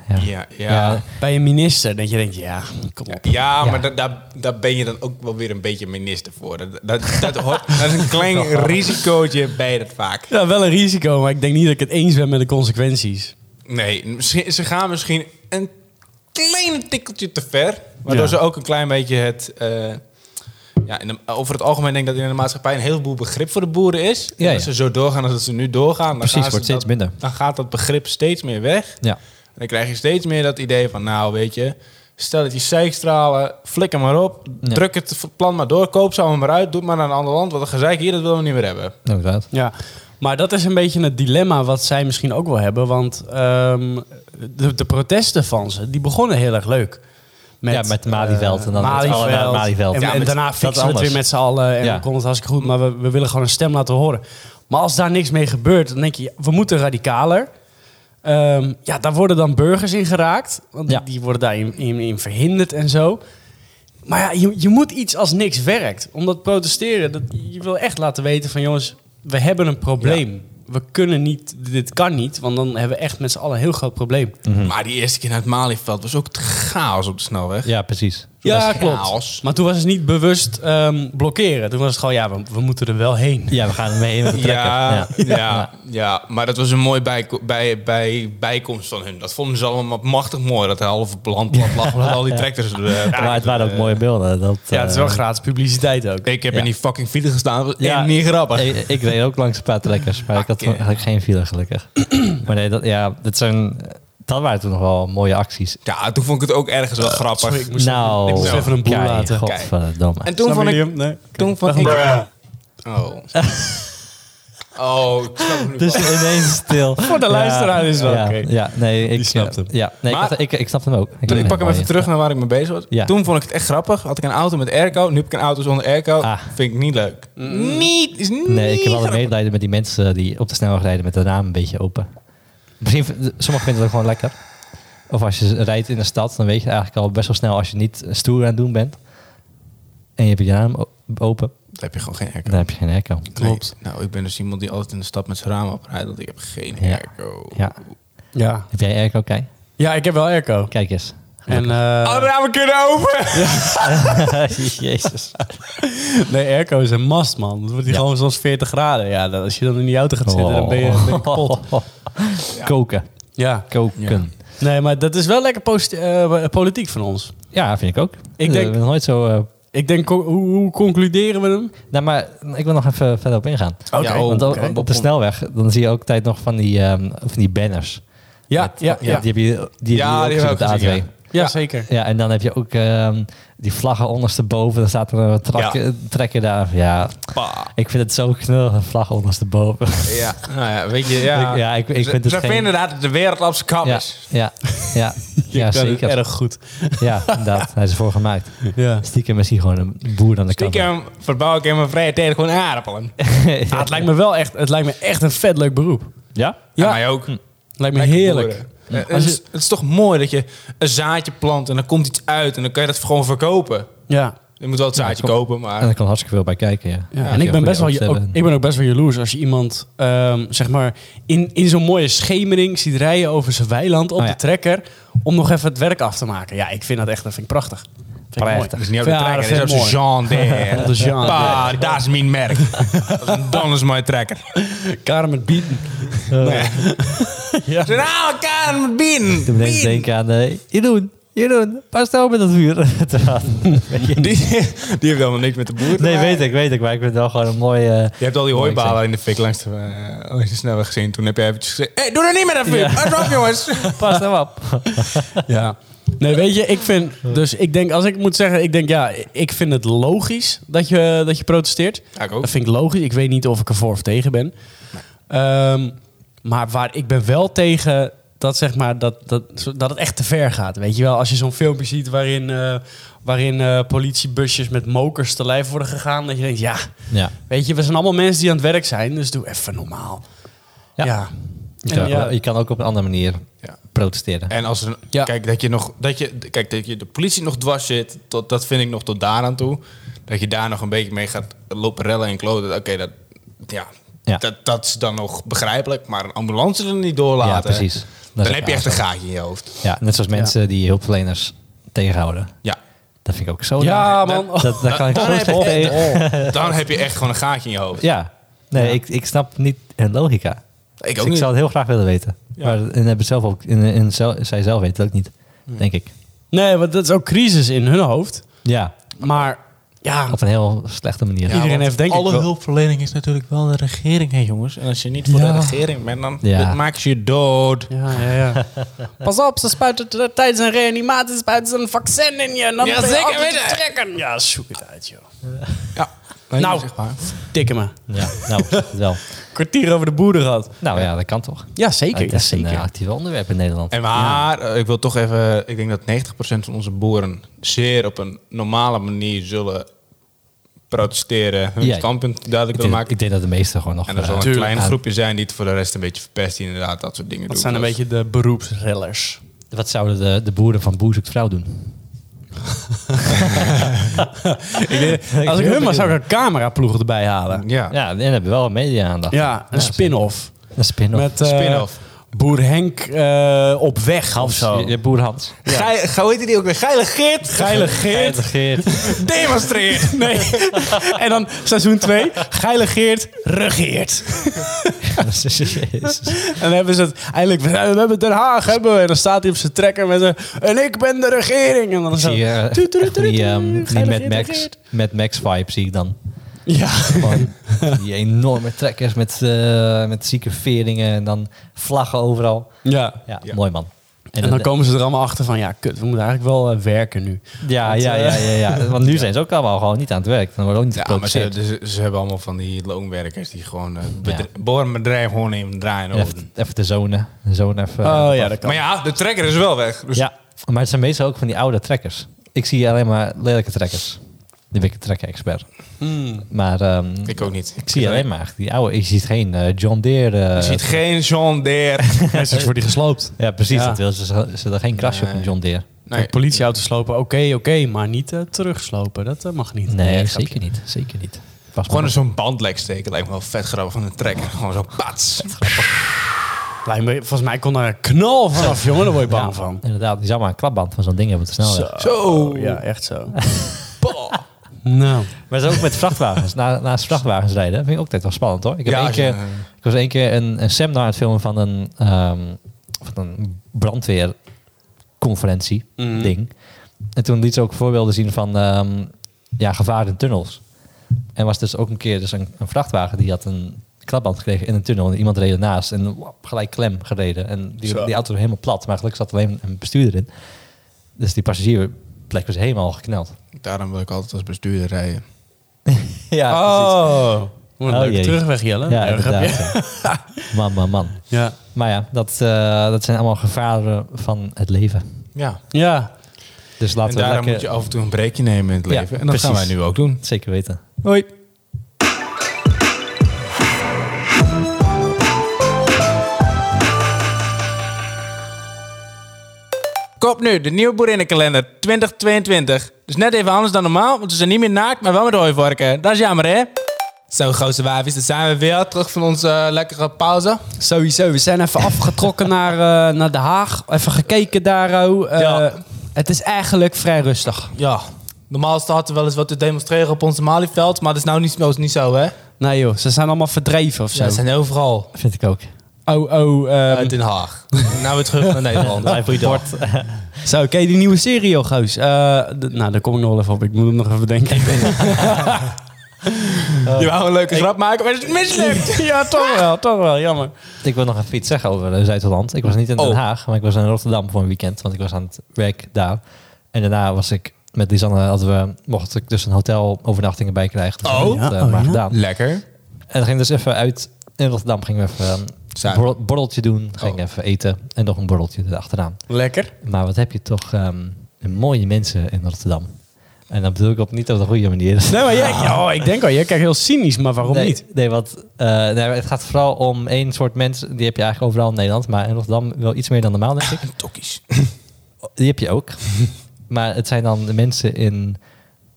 [SPEAKER 3] Ja, ja.
[SPEAKER 2] Ja.
[SPEAKER 3] ja.
[SPEAKER 1] Bij een minister, dat je denkt, ja, kom op.
[SPEAKER 3] maar da- daar daar ben je dan ook wel weer een beetje minister voor. Dat, dat, dat, hoort,
[SPEAKER 2] [LAUGHS]
[SPEAKER 3] dat is een klein risicootje bij dat vaak.
[SPEAKER 1] Ja, wel een risico, maar ik denk niet dat ik het eens ben met de consequenties.
[SPEAKER 3] Nee, misschien, ze gaan misschien een klein tikkeltje te ver. Waardoor
[SPEAKER 1] Ja.
[SPEAKER 3] ze ook een klein beetje het... eh, ja, in de- over het algemeen denk ik dat in de maatschappij een heleboel begrip voor de boeren is.
[SPEAKER 2] Ja,
[SPEAKER 3] en
[SPEAKER 2] ja.
[SPEAKER 3] als ze zo doorgaan als dat ze nu doorgaan... Dan
[SPEAKER 2] Precies,
[SPEAKER 3] gaan ze
[SPEAKER 2] wordt steeds
[SPEAKER 3] dat-
[SPEAKER 2] minder.
[SPEAKER 3] Dan gaat dat begrip steeds meer weg.
[SPEAKER 2] Ja.
[SPEAKER 3] En dan krijg je steeds meer dat idee van, nou weet je, stel dat je zeikstralen, flikker maar op,
[SPEAKER 2] Ja.
[SPEAKER 3] druk het plan maar door, koop ze allemaal maar uit, doe het maar naar een ander land, want een gezeik hier, dat willen we niet meer hebben.
[SPEAKER 2] Inderdaad.
[SPEAKER 1] Ja, maar dat is een beetje het dilemma wat zij misschien ook wel hebben. Want ehm, de, de protesten van ze, die begonnen heel erg leuk.
[SPEAKER 2] Ja, met Malieveld
[SPEAKER 1] eh,
[SPEAKER 2] en dan met
[SPEAKER 1] Malieveld.
[SPEAKER 2] alle naar het Malieveld.
[SPEAKER 1] En,
[SPEAKER 2] Ja,
[SPEAKER 1] en
[SPEAKER 2] met-
[SPEAKER 1] daarna
[SPEAKER 2] dat
[SPEAKER 1] fixen we het
[SPEAKER 2] anders.
[SPEAKER 1] weer met z'n allen. En
[SPEAKER 2] Ja.
[SPEAKER 1] dan komt het hartstikke goed. Maar we, we willen gewoon een stem laten horen. Maar als daar niks mee gebeurt, dan denk je... ja, we moeten radicaler. Ehm, ja, daar worden dan burgers in geraakt. Want die-
[SPEAKER 2] Ja.
[SPEAKER 1] die worden daarin in, in verhinderd en zo. Maar ja, je, je moet iets als niks werkt. Omdat protesteren, dat, je wil echt laten weten van... jongens, we hebben een probleem. We kunnen niet, dit kan niet. Want dan hebben we echt met z'n allen een heel groot probleem.
[SPEAKER 2] Mhm.
[SPEAKER 3] Maar die eerste keer naar het Malieveld was ook het chaos op de snelweg.
[SPEAKER 2] Ja, precies.
[SPEAKER 1] Ja,
[SPEAKER 3] Dat is
[SPEAKER 1] klopt.
[SPEAKER 3] chaos.
[SPEAKER 1] Maar toen was het niet bewust ehm, blokkeren. Toen was het gewoon, ja, we, we moeten er wel heen.
[SPEAKER 2] Ja, we gaan mee in trekken.
[SPEAKER 3] Ja, [LAUGHS] ja,
[SPEAKER 2] Ja.
[SPEAKER 3] ja, maar dat was een mooie bijko- bij, bij, bijkomst van hun. Dat vonden ze allemaal machtig mooi, dat halve land plat lag met al die tractors. eh,
[SPEAKER 2] Maar het waren ook mooie beelden. Dat,
[SPEAKER 1] Ja, het is wel
[SPEAKER 2] eh,
[SPEAKER 1] gratis publiciteit ook.
[SPEAKER 3] Ik heb
[SPEAKER 2] Ja.
[SPEAKER 3] in die fucking file gestaan, dat was
[SPEAKER 2] Ja.
[SPEAKER 3] echt niet grappig.
[SPEAKER 2] Ik, ik reed ook langs een paar trekkers, maar ik had,
[SPEAKER 3] Oké.
[SPEAKER 2] had ik geen file gelukkig. [CLEARS THROAT] maar nee, dat, ja, dat, zijn, dat waren toen nog wel mooie acties.
[SPEAKER 3] Ja, toen vond ik het ook ergens
[SPEAKER 2] Eh,
[SPEAKER 3] wel grappig.
[SPEAKER 1] Sorry, ik moest
[SPEAKER 2] Nou,
[SPEAKER 1] even, ik moest even een boel
[SPEAKER 2] kei,
[SPEAKER 1] laten.
[SPEAKER 3] God.
[SPEAKER 2] Godverdomme.
[SPEAKER 3] en toen vond ik...
[SPEAKER 1] Nee.
[SPEAKER 3] Toen vond ik...
[SPEAKER 2] [LAUGHS]
[SPEAKER 3] Oh. Oh, ik snap het nu
[SPEAKER 2] Dus
[SPEAKER 3] wel.
[SPEAKER 2] ineens
[SPEAKER 1] [LAUGHS]
[SPEAKER 2] stil. Voor
[SPEAKER 1] de luisteraar is wel
[SPEAKER 2] ja,
[SPEAKER 1] oké.
[SPEAKER 2] Ja, nee, ik
[SPEAKER 1] Die snapt hem.
[SPEAKER 2] Ja, nee,
[SPEAKER 3] Maar-
[SPEAKER 2] ik, ik, ik snap hem ook.
[SPEAKER 3] Toen- ik
[SPEAKER 2] vind
[SPEAKER 3] pak hem
[SPEAKER 2] het
[SPEAKER 3] even
[SPEAKER 2] mooi.
[SPEAKER 3] terug naar waar ik mee bezig was.
[SPEAKER 2] Ja.
[SPEAKER 3] Toen vond ik het echt grappig. Had ik een auto met airco. Nu heb ik een auto zonder airco.
[SPEAKER 2] Ah. Mm.
[SPEAKER 3] Vind ik niet leuk. Niet, is niet
[SPEAKER 2] Nee, ik heb wel
[SPEAKER 3] grappig.
[SPEAKER 2] medelijden met die mensen die op de snelweg rijden met de raam een beetje open. Misschien, v- sommigen vinden het ook gewoon lekker. Of als je rijdt in de stad, dan weet je eigenlijk al best wel snel als je niet stoer aan het doen bent. En je hebt je raam o- open,
[SPEAKER 3] Dan heb je gewoon geen airco.
[SPEAKER 2] dan heb je geen airco.
[SPEAKER 3] Nee. Nou, ik ben dus iemand die altijd in de stad met zijn raam oprijdt. Want ik heb geen
[SPEAKER 2] Ja.
[SPEAKER 3] airco.
[SPEAKER 2] Ja.
[SPEAKER 1] Ja.
[SPEAKER 2] Heb jij airco? Kijk,
[SPEAKER 1] ja, ik heb wel airco. [LAUGHS]
[SPEAKER 2] kijk eens.
[SPEAKER 1] En,
[SPEAKER 3] Alle
[SPEAKER 1] eh,
[SPEAKER 3] ramen Oh, nou, kunnen open!
[SPEAKER 2] [LAUGHS] Jezus.
[SPEAKER 1] nee, airco is een mast, man. Dan wordt die
[SPEAKER 2] Ja.
[SPEAKER 1] gewoon zoals 40 graden. Ja, dan- als je dan in die auto gaat zitten, dan ben je,
[SPEAKER 2] Oh.
[SPEAKER 1] ben je kapot.
[SPEAKER 2] Koken.
[SPEAKER 1] Ja.
[SPEAKER 2] Koken.
[SPEAKER 1] Nee, maar dat is wel lekker posit- eh, politiek van ons.
[SPEAKER 2] Ja, vind ik ook.
[SPEAKER 1] Ik denk-
[SPEAKER 2] Ik ben nooit zo... eh,
[SPEAKER 1] Ik denk, co- hoe, hoe concluderen we hem?
[SPEAKER 2] nou, maar ik wil nog even verder op ingaan.
[SPEAKER 1] Oké.
[SPEAKER 3] Ja, oh,
[SPEAKER 2] Want op-
[SPEAKER 3] oké.
[SPEAKER 2] op de snelweg, dan zie je ook tijd nog van die, ehm, van die banners.
[SPEAKER 1] Ja, ja, ja,
[SPEAKER 2] Die heb je, die
[SPEAKER 3] Ja,
[SPEAKER 2] heb je ook
[SPEAKER 3] die hebben we
[SPEAKER 2] gezien
[SPEAKER 3] ook
[SPEAKER 2] op de A2.
[SPEAKER 3] gezien,
[SPEAKER 1] ja, zeker.
[SPEAKER 2] Ja, en dan heb je ook ehm, die vlaggen ondersteboven. Dan staat er een trak,
[SPEAKER 3] Ja.
[SPEAKER 2] trekker daar. Ja,
[SPEAKER 3] Pa.
[SPEAKER 2] ik vind het zo knul, een vlag ondersteboven.
[SPEAKER 3] Ja, nou ja, weet je, ja.
[SPEAKER 2] Ik- ja, ik- ik
[SPEAKER 3] Ze-
[SPEAKER 2] vind het
[SPEAKER 3] ze
[SPEAKER 2] geen-
[SPEAKER 3] vinden dat het de wereld op zijn kap
[SPEAKER 2] Ja,
[SPEAKER 3] is.
[SPEAKER 2] ja,
[SPEAKER 3] [LAUGHS]
[SPEAKER 2] ja, ja
[SPEAKER 1] Ik ben het
[SPEAKER 2] zeker.
[SPEAKER 1] erg goed.
[SPEAKER 2] Ja, inderdaad. Hij is ervoor gemaakt.
[SPEAKER 1] Ja.
[SPEAKER 2] Stiekem is hij gewoon een boer aan de kant.
[SPEAKER 3] Stiekem verbouw ik in mijn vrije tijd gewoon aardappelen.
[SPEAKER 1] Ah, het lijkt me wel echt, het lijkt me echt een vet leuk beroep.
[SPEAKER 2] Ja?
[SPEAKER 1] Ja.
[SPEAKER 3] Ja, mij ook.
[SPEAKER 2] Mm.
[SPEAKER 1] Lijkt me
[SPEAKER 3] Lekker
[SPEAKER 1] heerlijk.
[SPEAKER 3] boeren. Eh, Het is, het is toch mooi dat je een zaadje plant en dan komt iets uit en dan kan je dat gewoon verkopen.
[SPEAKER 1] Ja.
[SPEAKER 3] Je moet wel het zaadje kopen, maar
[SPEAKER 2] En er kan hartstikke veel bij kijken, ja.
[SPEAKER 1] Ja,
[SPEAKER 2] Als
[SPEAKER 1] en
[SPEAKER 2] je
[SPEAKER 1] ik ben,
[SPEAKER 2] een
[SPEAKER 1] best wel,
[SPEAKER 2] goede
[SPEAKER 1] je- ook,
[SPEAKER 2] oogst hebt.
[SPEAKER 1] ik ben ook best wel jaloers als je iemand ehm, zeg maar in, in zo'n mooie schemering ziet rijden over zijn weiland op
[SPEAKER 2] Oh ja.
[SPEAKER 1] de trekker om nog even het werk af te maken. Ja, ik vind dat echt dat vind ik prachtig. Vind ik mooi.
[SPEAKER 2] Prachtig.
[SPEAKER 3] Dat is Dus niet op de
[SPEAKER 1] Ja,
[SPEAKER 3] trekker,
[SPEAKER 1] dat
[SPEAKER 3] dat is op
[SPEAKER 1] vind ik
[SPEAKER 3] zijn Jean
[SPEAKER 2] [LAUGHS]
[SPEAKER 3] Deere.
[SPEAKER 1] De Jean
[SPEAKER 3] Pa, dat is mijn merk. Dat is een donders mooi trekker.
[SPEAKER 1] Karen met bieten.
[SPEAKER 3] Ze nou, elkaar met
[SPEAKER 2] Toen
[SPEAKER 3] binnen.
[SPEAKER 2] ben ik denken aan... eh, Jeroen, Jeroen, pas nou met dat vuur. [LAUGHS] te gaan. Weet je?
[SPEAKER 3] Die, die heeft helemaal niks met de boer. te
[SPEAKER 2] nee,
[SPEAKER 3] maken.
[SPEAKER 2] weet ik, weet ik. Maar ik vind het wel gewoon een mooie... eh,
[SPEAKER 3] Je hebt al die
[SPEAKER 2] Mooi,
[SPEAKER 3] hooibalen in de fik langs de, eh, langs de snelweg gezien. Toen heb je eventjes gezegd... Hé, hey, doe er niet meer aan, Filip. Uit op, jongens.
[SPEAKER 2] [LAUGHS] pas nou op.
[SPEAKER 1] [LAUGHS] Ja. Nee, weet je, ik vind... Dus ik denk, als ik moet zeggen, ik denk ja, ik vind het logisch dat je, dat je protesteert.
[SPEAKER 3] Ja, ik ook.
[SPEAKER 1] Dat vind ik logisch. Ik weet niet of ik er voor of tegen ben. Ehm, maar waar ik ben wel tegen dat, zeg maar, dat, dat, dat het echt te ver gaat. Weet je wel, als je zo'n filmpje ziet waarin, eh, waarin eh, politiebusjes met mokers te lijf worden gegaan. Dat je denkt, ja,
[SPEAKER 2] Ja.
[SPEAKER 1] weet je, we zijn allemaal mensen die aan het werk zijn. Dus doe even normaal.
[SPEAKER 2] Ja.
[SPEAKER 1] Ja.
[SPEAKER 2] Je
[SPEAKER 1] En
[SPEAKER 2] kan,
[SPEAKER 1] ja,
[SPEAKER 2] je kan ook op een andere manier
[SPEAKER 3] Ja.
[SPEAKER 2] protesteren.
[SPEAKER 3] En als er,
[SPEAKER 1] Ja.
[SPEAKER 3] kijk, dat je nog, dat je, kijk, dat je de politie nog dwars zit, tot, dat vind ik nog tot daar aan toe. Dat je daar nog een beetje mee gaat lopen rellen en kloten. Oké, dat, ja,
[SPEAKER 2] Ja.
[SPEAKER 3] Dat, dat is dan nog begrijpelijk. Maar een ambulance er niet door laten.
[SPEAKER 2] ja, precies. Dat is
[SPEAKER 3] Dan
[SPEAKER 2] ook
[SPEAKER 3] heb je echt een
[SPEAKER 2] aanstoot.
[SPEAKER 3] gaatje in je hoofd.
[SPEAKER 2] Ja, net zoals mensen die hulpverleners tegenhouden.
[SPEAKER 3] Ja.
[SPEAKER 2] Dat vind ik ook
[SPEAKER 1] [LAUGHS]
[SPEAKER 2] zo.
[SPEAKER 1] ja
[SPEAKER 3] dat-
[SPEAKER 1] man. Oh,
[SPEAKER 2] Dat, dat, kan ik
[SPEAKER 3] Dan
[SPEAKER 2] zo
[SPEAKER 3] heb
[SPEAKER 2] slecht
[SPEAKER 3] je-
[SPEAKER 2] tegen.
[SPEAKER 3] Dan heb je echt gewoon een gaatje in je hoofd.
[SPEAKER 2] Ja. Nee, Ik, ik snap niet hun logica.
[SPEAKER 3] Ik
[SPEAKER 2] Dus
[SPEAKER 3] ook
[SPEAKER 2] ik
[SPEAKER 3] niet.
[SPEAKER 2] zou het heel graag willen weten. Maar en hebben het zelf ook, en, en zel- zij zelf weten het ook niet, denk ik.
[SPEAKER 1] Nee, want dat is ook crisis in hun hoofd.
[SPEAKER 2] Ja,
[SPEAKER 1] Maar ja,
[SPEAKER 2] op een heel slechte manier.
[SPEAKER 1] Ja. iedereen
[SPEAKER 3] want
[SPEAKER 1] heeft denk ik
[SPEAKER 3] alle
[SPEAKER 1] wel-
[SPEAKER 3] hulpverlening is natuurlijk wel de regering, hè jongens. En als je niet voor
[SPEAKER 1] Ja.
[SPEAKER 3] de regering bent, dan
[SPEAKER 2] Ja.
[SPEAKER 3] dat maakt je dood.
[SPEAKER 1] Ja, ja, ja. [LAUGHS] Pas op, ze spuiten t- tijdens een reanimatie spuiten ze een vaccin in je. En dan
[SPEAKER 3] Ja,
[SPEAKER 1] ben je
[SPEAKER 3] zeker
[SPEAKER 1] altijd
[SPEAKER 3] weten.
[SPEAKER 1] te trekken. Ja, zoek het uit, joh.
[SPEAKER 3] Ja.
[SPEAKER 1] Nou.
[SPEAKER 3] zeg maar.
[SPEAKER 1] Tikken me.
[SPEAKER 2] Ja, nou, [LAUGHS] zeg het wel.
[SPEAKER 1] Kwartier over de boeren gehad.
[SPEAKER 2] Nou ja, dat kan toch?
[SPEAKER 1] Ja, zeker.
[SPEAKER 2] Het
[SPEAKER 1] Ja,
[SPEAKER 2] is een
[SPEAKER 1] zeker.
[SPEAKER 2] eh, actief onderwerp in Nederland.
[SPEAKER 3] En maar, eh, ik wil toch even... Ik denk dat 90% van onze boeren zeer op een normale manier zullen protesteren. Hun
[SPEAKER 2] Ja.
[SPEAKER 3] standpunt duidelijk
[SPEAKER 2] Ik denk,
[SPEAKER 3] willen maken.
[SPEAKER 2] ik denk dat de meesten gewoon nog...
[SPEAKER 3] en er
[SPEAKER 2] eh,
[SPEAKER 3] zal een
[SPEAKER 1] tuurlijk.
[SPEAKER 3] klein
[SPEAKER 2] aan-
[SPEAKER 3] groepje zijn die het voor de rest een beetje verpest. Die inderdaad dat soort dingen
[SPEAKER 1] Dat
[SPEAKER 3] doen.
[SPEAKER 1] zijn een
[SPEAKER 3] Dus-
[SPEAKER 1] beetje de beroepsrellers.
[SPEAKER 2] Wat zouden de, de boeren van Boer zoekt vrouw doen? [LAUGHS]
[SPEAKER 1] Als [LAUGHS] ik
[SPEAKER 2] heel
[SPEAKER 1] hun maar zou ik een cameraploeg erbij halen.
[SPEAKER 3] Ja.
[SPEAKER 2] Ja, en dan hebben we wel media-aandacht.
[SPEAKER 1] Ja, een spin-off.
[SPEAKER 2] Een spin-off.
[SPEAKER 1] Met eh,
[SPEAKER 3] Spin-off.
[SPEAKER 1] boer Henk eh, op weg of zo.
[SPEAKER 2] Je- je Boer Hans.
[SPEAKER 3] Gij- Hoe heet die ook weer? Geile Geert.
[SPEAKER 1] Geile Geert.
[SPEAKER 2] Geert.
[SPEAKER 3] Demonstreert.
[SPEAKER 1] Nee. en dan seizoen 2. Geile Geert regeert. En dan hebben ze het eindelijk. We hebben Den Haag, hebben we. En dan staat hij op zijn trekker met een. En ik ben de regering. En dan zo.
[SPEAKER 2] Zie je eh,
[SPEAKER 1] Toet, toet,
[SPEAKER 2] echt
[SPEAKER 1] toet,
[SPEAKER 2] die, ehm,
[SPEAKER 1] toet,
[SPEAKER 2] die
[SPEAKER 1] Geile
[SPEAKER 2] Mad
[SPEAKER 1] Geert
[SPEAKER 2] Max,
[SPEAKER 1] regeert.
[SPEAKER 2] Mad Max vibe zie ik dan.
[SPEAKER 1] Ja.
[SPEAKER 2] Gewoon die enorme trekkers met, eh, met zieke veringen en dan vlaggen overal.
[SPEAKER 1] ja.
[SPEAKER 2] Ja,
[SPEAKER 3] Ja.
[SPEAKER 2] mooi man.
[SPEAKER 1] En dan komen ze er allemaal achter van. Ja, kut. We moeten eigenlijk wel eh, werken nu.
[SPEAKER 2] ja, ja, ja, ja, ja. Want nu zijn ze ook allemaal gewoon niet aan het werk. Dan wordt ook niet
[SPEAKER 3] Ja, maar ze,
[SPEAKER 2] geproduceerd.
[SPEAKER 3] ze, ze hebben allemaal van die loonwerkers die gewoon eh, bedri- borenbedrijf gewoon in draaien. over.
[SPEAKER 2] Even, even de zone. De zone even, eh,
[SPEAKER 1] Oh ja, dat kan.
[SPEAKER 3] Maar ja, de trekker is wel weg. Dus
[SPEAKER 2] Ja, maar het zijn meestal ook van die oude trekkers. Ik zie alleen maar lelijke trekkers. Nu ben ik een trekker-expert. Maar ehm, ik,
[SPEAKER 3] Hmm. ik ook niet. Ik
[SPEAKER 2] zie alleen maar die oude. Je ziet geen eh, John Deere. eh,
[SPEAKER 3] Je ziet geen John Deere. [LAUGHS]
[SPEAKER 1] Mensen is voor die gesloopt.
[SPEAKER 2] ja, precies.
[SPEAKER 1] Ja.
[SPEAKER 2] Dat wil ze, ze hadden geen crash op een John Deere.
[SPEAKER 3] Nee.
[SPEAKER 1] Politieauto's slopen, oké, oké, maar niet eh, terugslopen. Dat eh, mag niet.
[SPEAKER 2] Nee,
[SPEAKER 1] grapje.
[SPEAKER 2] zeker niet. Zeker niet. Pas
[SPEAKER 3] Gewoon
[SPEAKER 2] maar
[SPEAKER 3] een zo'n bandlek steken lijkt me wel vet grappig van een trekker. Gewoon zo pats.
[SPEAKER 1] Lijkt me- Volgens mij kon er een knal vanaf, jongen. Daar word je
[SPEAKER 2] op.
[SPEAKER 1] bang
[SPEAKER 2] Ja, Oh,
[SPEAKER 1] van.
[SPEAKER 2] Inderdaad, die zou maar een klapband van zo'n ding hebben te snel.
[SPEAKER 1] Zo.
[SPEAKER 3] Zo.
[SPEAKER 1] Ja, echt zo. nou.
[SPEAKER 2] Maar dat is ook met vrachtwagens. Na, naast vrachtwagens rijden vind ik ook altijd wel spannend hoor. Ik, heb
[SPEAKER 3] Ja,
[SPEAKER 2] één
[SPEAKER 3] als je-
[SPEAKER 2] keer, ik was één keer een, een seminar aan het filmen van een, ehm, van een brandweerconferentie
[SPEAKER 3] Mhm.
[SPEAKER 2] ding. En toen liet ze ook voorbeelden zien van ehm, ja, gevaar in tunnels. En was dus ook een keer dus een, een vrachtwagen die had een klapband gekregen in een tunnel. En iemand reed ernaast en wap, gelijk klem gereden. En die,
[SPEAKER 1] Zo.
[SPEAKER 2] die auto helemaal plat, maar gelukkig zat alleen een bestuurder in. Dus die passagierplek was helemaal gekneld.
[SPEAKER 3] Daarom wil ik altijd als bestuurder rijden.
[SPEAKER 2] Ja,
[SPEAKER 1] Oh. Wat een
[SPEAKER 2] Oh,
[SPEAKER 1] leuke
[SPEAKER 2] jee.
[SPEAKER 1] terugweg, Jelle.
[SPEAKER 2] Ja,
[SPEAKER 1] Nee, grapje.
[SPEAKER 2] inderdaad. ja. [LAUGHS] man, man, man.
[SPEAKER 1] Ja.
[SPEAKER 2] Maar ja, dat, eh, dat zijn allemaal gevaren van het leven.
[SPEAKER 3] Ja.
[SPEAKER 1] Ja.
[SPEAKER 2] Dus
[SPEAKER 3] en
[SPEAKER 2] laten we
[SPEAKER 3] daarom
[SPEAKER 2] lekker...
[SPEAKER 3] moet je af en toe een breekje nemen in het
[SPEAKER 2] Ja,
[SPEAKER 3] leven. en dat gaan wij
[SPEAKER 2] precies.
[SPEAKER 3] nu ook doen.
[SPEAKER 2] Zeker weten.
[SPEAKER 3] Hoi. Koop nu de nieuwe boerinnenkalender 2022. Dus net even anders dan normaal, want ze zijn niet meer naakt, maar wel met hooivorken. Dat is jammer, hè? Zo, gozer wavies, dan zijn we weer terug van onze eh, lekkere pauze.
[SPEAKER 1] Sowieso, we zijn even [LAUGHS] afgetrokken naar, eh, naar Den Haag. Even gekeken daar, oh. Eh,
[SPEAKER 3] Ja.
[SPEAKER 1] Het is eigenlijk vrij rustig.
[SPEAKER 3] Ja, Normaal staat er wel eens wat te demonstreren op ons Malieveld, maar dat is nou niet, dat is niet zo, hè?
[SPEAKER 1] Nee joh, ze zijn allemaal verdreven of zo.
[SPEAKER 3] Ze zijn overal
[SPEAKER 2] Vind ik ook.
[SPEAKER 1] Oh, oh. ehm,
[SPEAKER 3] uit Den Haag. [LAUGHS] nou weer terug naar Nederland.
[SPEAKER 2] Blijf voor je dag.
[SPEAKER 1] Zo, oké, die nieuwe serie, joh, goos. Eh, d- nou, daar kom ik nog wel even op. Ik moet hem nog even bedenken.
[SPEAKER 3] [LAUGHS]
[SPEAKER 1] [LAUGHS]
[SPEAKER 3] Je wou een leuke grap maken, maar het is [LAUGHS] mislukt.
[SPEAKER 1] ja, toch wel, toch wel. Jammer.
[SPEAKER 2] [LAUGHS] Ik wil nog even iets zeggen over eh, Zuid-Holland. Ik was niet in Den
[SPEAKER 3] Oh.
[SPEAKER 2] Haag, maar ik was in Rotterdam voor een weekend, want ik was aan het werk daar. En daarna was ik met Lisanne, hadden we, mocht ik dus een hotelovernachtingen erbij krijgen. Dus
[SPEAKER 3] Oh.
[SPEAKER 2] dat hebben we dat, eh,
[SPEAKER 1] Ja, oh,
[SPEAKER 2] maar
[SPEAKER 1] ja.
[SPEAKER 2] gedaan.
[SPEAKER 3] Lekker.
[SPEAKER 2] En dan ging dus even uit, in Rotterdam gingen we even eh, een
[SPEAKER 3] Zuipen.
[SPEAKER 2] borrel- borreltje doen, ging
[SPEAKER 3] Oh.
[SPEAKER 2] even eten en nog een borreltje erachteraan.
[SPEAKER 1] Lekker.
[SPEAKER 2] Maar wat heb je toch ehm, mooie mensen in Rotterdam. En dat bedoel ik op niet op de goede manier.
[SPEAKER 1] Nee, maar jij, oh, ik denk al, jij kijkt heel cynisch, maar waarom
[SPEAKER 2] nee,
[SPEAKER 1] niet?
[SPEAKER 2] Nee, want eh, nee, maar het gaat vooral om één soort mensen. Die heb je eigenlijk overal in Nederland. Maar in Rotterdam wel iets meer dan normaal, denk ik.
[SPEAKER 1] [LAUGHS]
[SPEAKER 3] Tokkies.
[SPEAKER 2] Die heb je ook. maar het zijn dan de mensen in...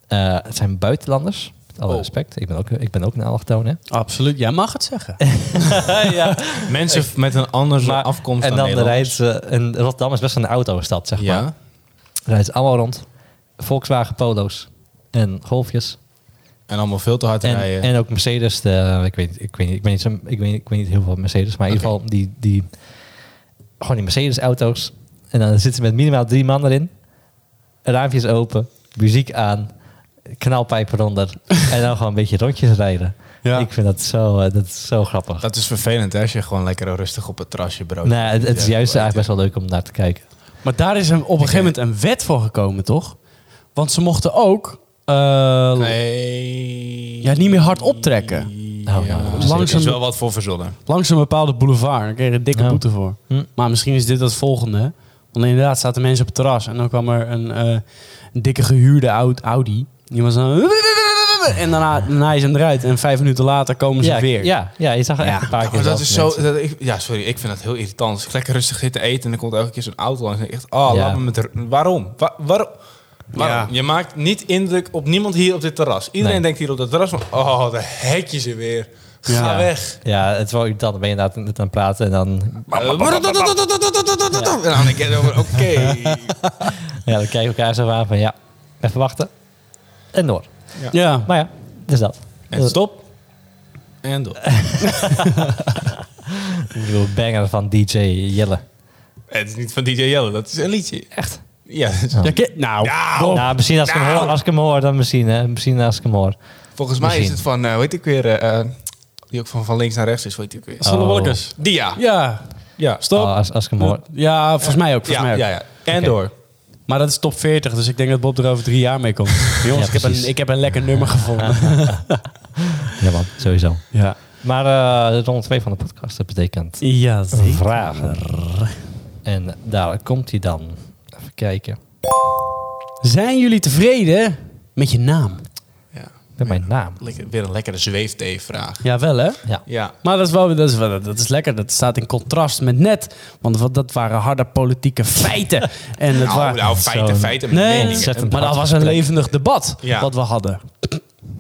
[SPEAKER 2] eh, het zijn buitenlanders. Met alle
[SPEAKER 3] Oh.
[SPEAKER 2] respect. Ik ben ook, ik ben ook een allochtoon, hè.
[SPEAKER 1] Absoluut, jij mag het zeggen.
[SPEAKER 2] ja.
[SPEAKER 3] Mensen met een andere
[SPEAKER 2] Maar-
[SPEAKER 3] afkomst
[SPEAKER 2] En
[SPEAKER 3] dan
[SPEAKER 2] dan rijdt ze... en Rotterdam is best wel een autostad, zeg maar.
[SPEAKER 3] Ja.
[SPEAKER 2] Er rijdt allemaal rond. Volkswagen Polo's. En golfjes.
[SPEAKER 3] En allemaal veel te hard
[SPEAKER 2] En,
[SPEAKER 3] rijden.
[SPEAKER 2] en ook Mercedes. De, ik, weet, ik, weet, niet- ik, weet niet, zo- ik, weet, ik weet niet heel veel van Mercedes. Maar in
[SPEAKER 3] Oké.
[SPEAKER 2] ieder geval die, die... Gewoon die Mercedes-auto's. En dan zitten ze met minimaal drie man erin. Raampjes open. Muziek aan. Knalpijp eronder. en dan gewoon een beetje rondjes rijden.
[SPEAKER 1] Ja.
[SPEAKER 2] Ik vind dat zo, eh, dat is zo grappig.
[SPEAKER 3] dat is vervelend hè, als je gewoon lekker rustig op het terrasje brood.
[SPEAKER 2] nee, het, het is juist eigenlijk best wel leuk om naar te kijken.
[SPEAKER 1] Maar daar is een, op een gegeven moment een wet voor gekomen, toch? Want ze mochten ook eh,
[SPEAKER 3] Nee. Dus
[SPEAKER 1] ja, niet meer hard optrekken.
[SPEAKER 3] Oh,
[SPEAKER 2] Nou, ja, dat is
[SPEAKER 1] Langzaam-
[SPEAKER 3] Er is wel wat voor verzonnen.
[SPEAKER 1] Langs een bepaalde boulevard. Dan kreeg je een dikke
[SPEAKER 2] Ja.
[SPEAKER 1] boete voor.
[SPEAKER 2] Hm.
[SPEAKER 1] Maar misschien is dit het volgende. hè? Want inderdaad zaten mensen op het terras. En dan kwam er een, eh, een dikke gehuurde oud Audi. Die was dan... En daarna naaien ze hem eruit. En vijf minuten later komen ze
[SPEAKER 2] ja,
[SPEAKER 1] weer.
[SPEAKER 2] Ja, ja, je zag er echt een paar
[SPEAKER 3] Ja,
[SPEAKER 2] keer
[SPEAKER 3] maar dat
[SPEAKER 2] zelfs
[SPEAKER 3] is zo,
[SPEAKER 2] mensen.
[SPEAKER 3] dat, ik, ja, sorry, ik vind dat heel irritant. Als ik lekker rustig zit te eten en dan komt elke keer zo'n auto langs. En ik echt, ah,
[SPEAKER 2] Ja.
[SPEAKER 3] laat me met... de- Waarom? Wa- waarom? Waarom?
[SPEAKER 1] Ja.
[SPEAKER 3] Je maakt niet indruk op niemand hier op dit terras. Iedereen
[SPEAKER 2] Nee.
[SPEAKER 3] denkt hier op dat terras van, oh, daar hek je ze weer. Ga
[SPEAKER 1] Ja.
[SPEAKER 3] weg.
[SPEAKER 2] Ja, het is wel irritant. Dan ben je inderdaad aan het praten en dan
[SPEAKER 3] En dan denk ik, oké.
[SPEAKER 2] Ja, dan kijken we elkaar zo aan van ja, even wachten. En door.
[SPEAKER 1] Ja.
[SPEAKER 2] Maar ja, dus dat.
[SPEAKER 3] [LAUGHS] En stop. En door.
[SPEAKER 2] Ik bedoel, banger van DJ Jelle.
[SPEAKER 3] Het is niet van DJ Jelle, dat is een liedje.
[SPEAKER 2] Echt?
[SPEAKER 3] Ja,
[SPEAKER 1] Ja, ki- nou,
[SPEAKER 3] Nou,
[SPEAKER 1] Bob.
[SPEAKER 2] Nou, misschien als ik, hem
[SPEAKER 3] Nou.
[SPEAKER 2] hoor, als ik hem hoor, dan misschien. Hè. Misschien als ik hem hoor.
[SPEAKER 3] volgens mij is
[SPEAKER 2] Misschien.
[SPEAKER 3] het van, weet ik weer, eh, eh, die ook van, van links naar rechts is, weet ik weer.
[SPEAKER 1] Sander
[SPEAKER 2] Oh.
[SPEAKER 1] Wolkers.
[SPEAKER 3] Dia.
[SPEAKER 1] Ja.
[SPEAKER 3] Ja.
[SPEAKER 1] Stop.
[SPEAKER 2] Oh, als, als ik hem hoor.
[SPEAKER 1] Ja, volgens mij ook. Volgens mij
[SPEAKER 3] Ja,
[SPEAKER 1] ook.
[SPEAKER 3] ja, ja. En
[SPEAKER 2] Oké.
[SPEAKER 3] door.
[SPEAKER 1] Maar dat is top 40, dus ik denk dat Bob er over drie jaar mee komt. Jongens,
[SPEAKER 2] Ja,
[SPEAKER 1] ik, heb
[SPEAKER 2] precies.
[SPEAKER 1] een, ik heb een lekker nummer gevonden.
[SPEAKER 2] Ja man, sowieso.
[SPEAKER 1] Ja.
[SPEAKER 2] Maar eh ronde 2 van de podcast, dat betekent
[SPEAKER 1] Ja, zeker.
[SPEAKER 2] vragen. En daar komt hij dan. Even kijken.
[SPEAKER 1] Zijn jullie tevreden met je naam?
[SPEAKER 3] Ja.
[SPEAKER 2] Met mijn naam.
[SPEAKER 3] Lekker, weer een lekkere zweefthee-vraag.
[SPEAKER 1] Jawel, hè?
[SPEAKER 2] Ja.
[SPEAKER 3] Ja.
[SPEAKER 1] Maar dat is wel dat is, wel- dat is lekker. Dat staat in contrast met net. Want wat- dat waren harde politieke feiten. En het
[SPEAKER 3] Nou,
[SPEAKER 1] waren...
[SPEAKER 3] nou, feiten,
[SPEAKER 2] zo'n-
[SPEAKER 3] feiten.
[SPEAKER 1] Nee,
[SPEAKER 3] meningen.
[SPEAKER 2] ontzettend
[SPEAKER 1] maar dat
[SPEAKER 2] hard
[SPEAKER 1] was een
[SPEAKER 2] gesprek.
[SPEAKER 1] levendig debat
[SPEAKER 3] Ja.
[SPEAKER 1] wat we hadden.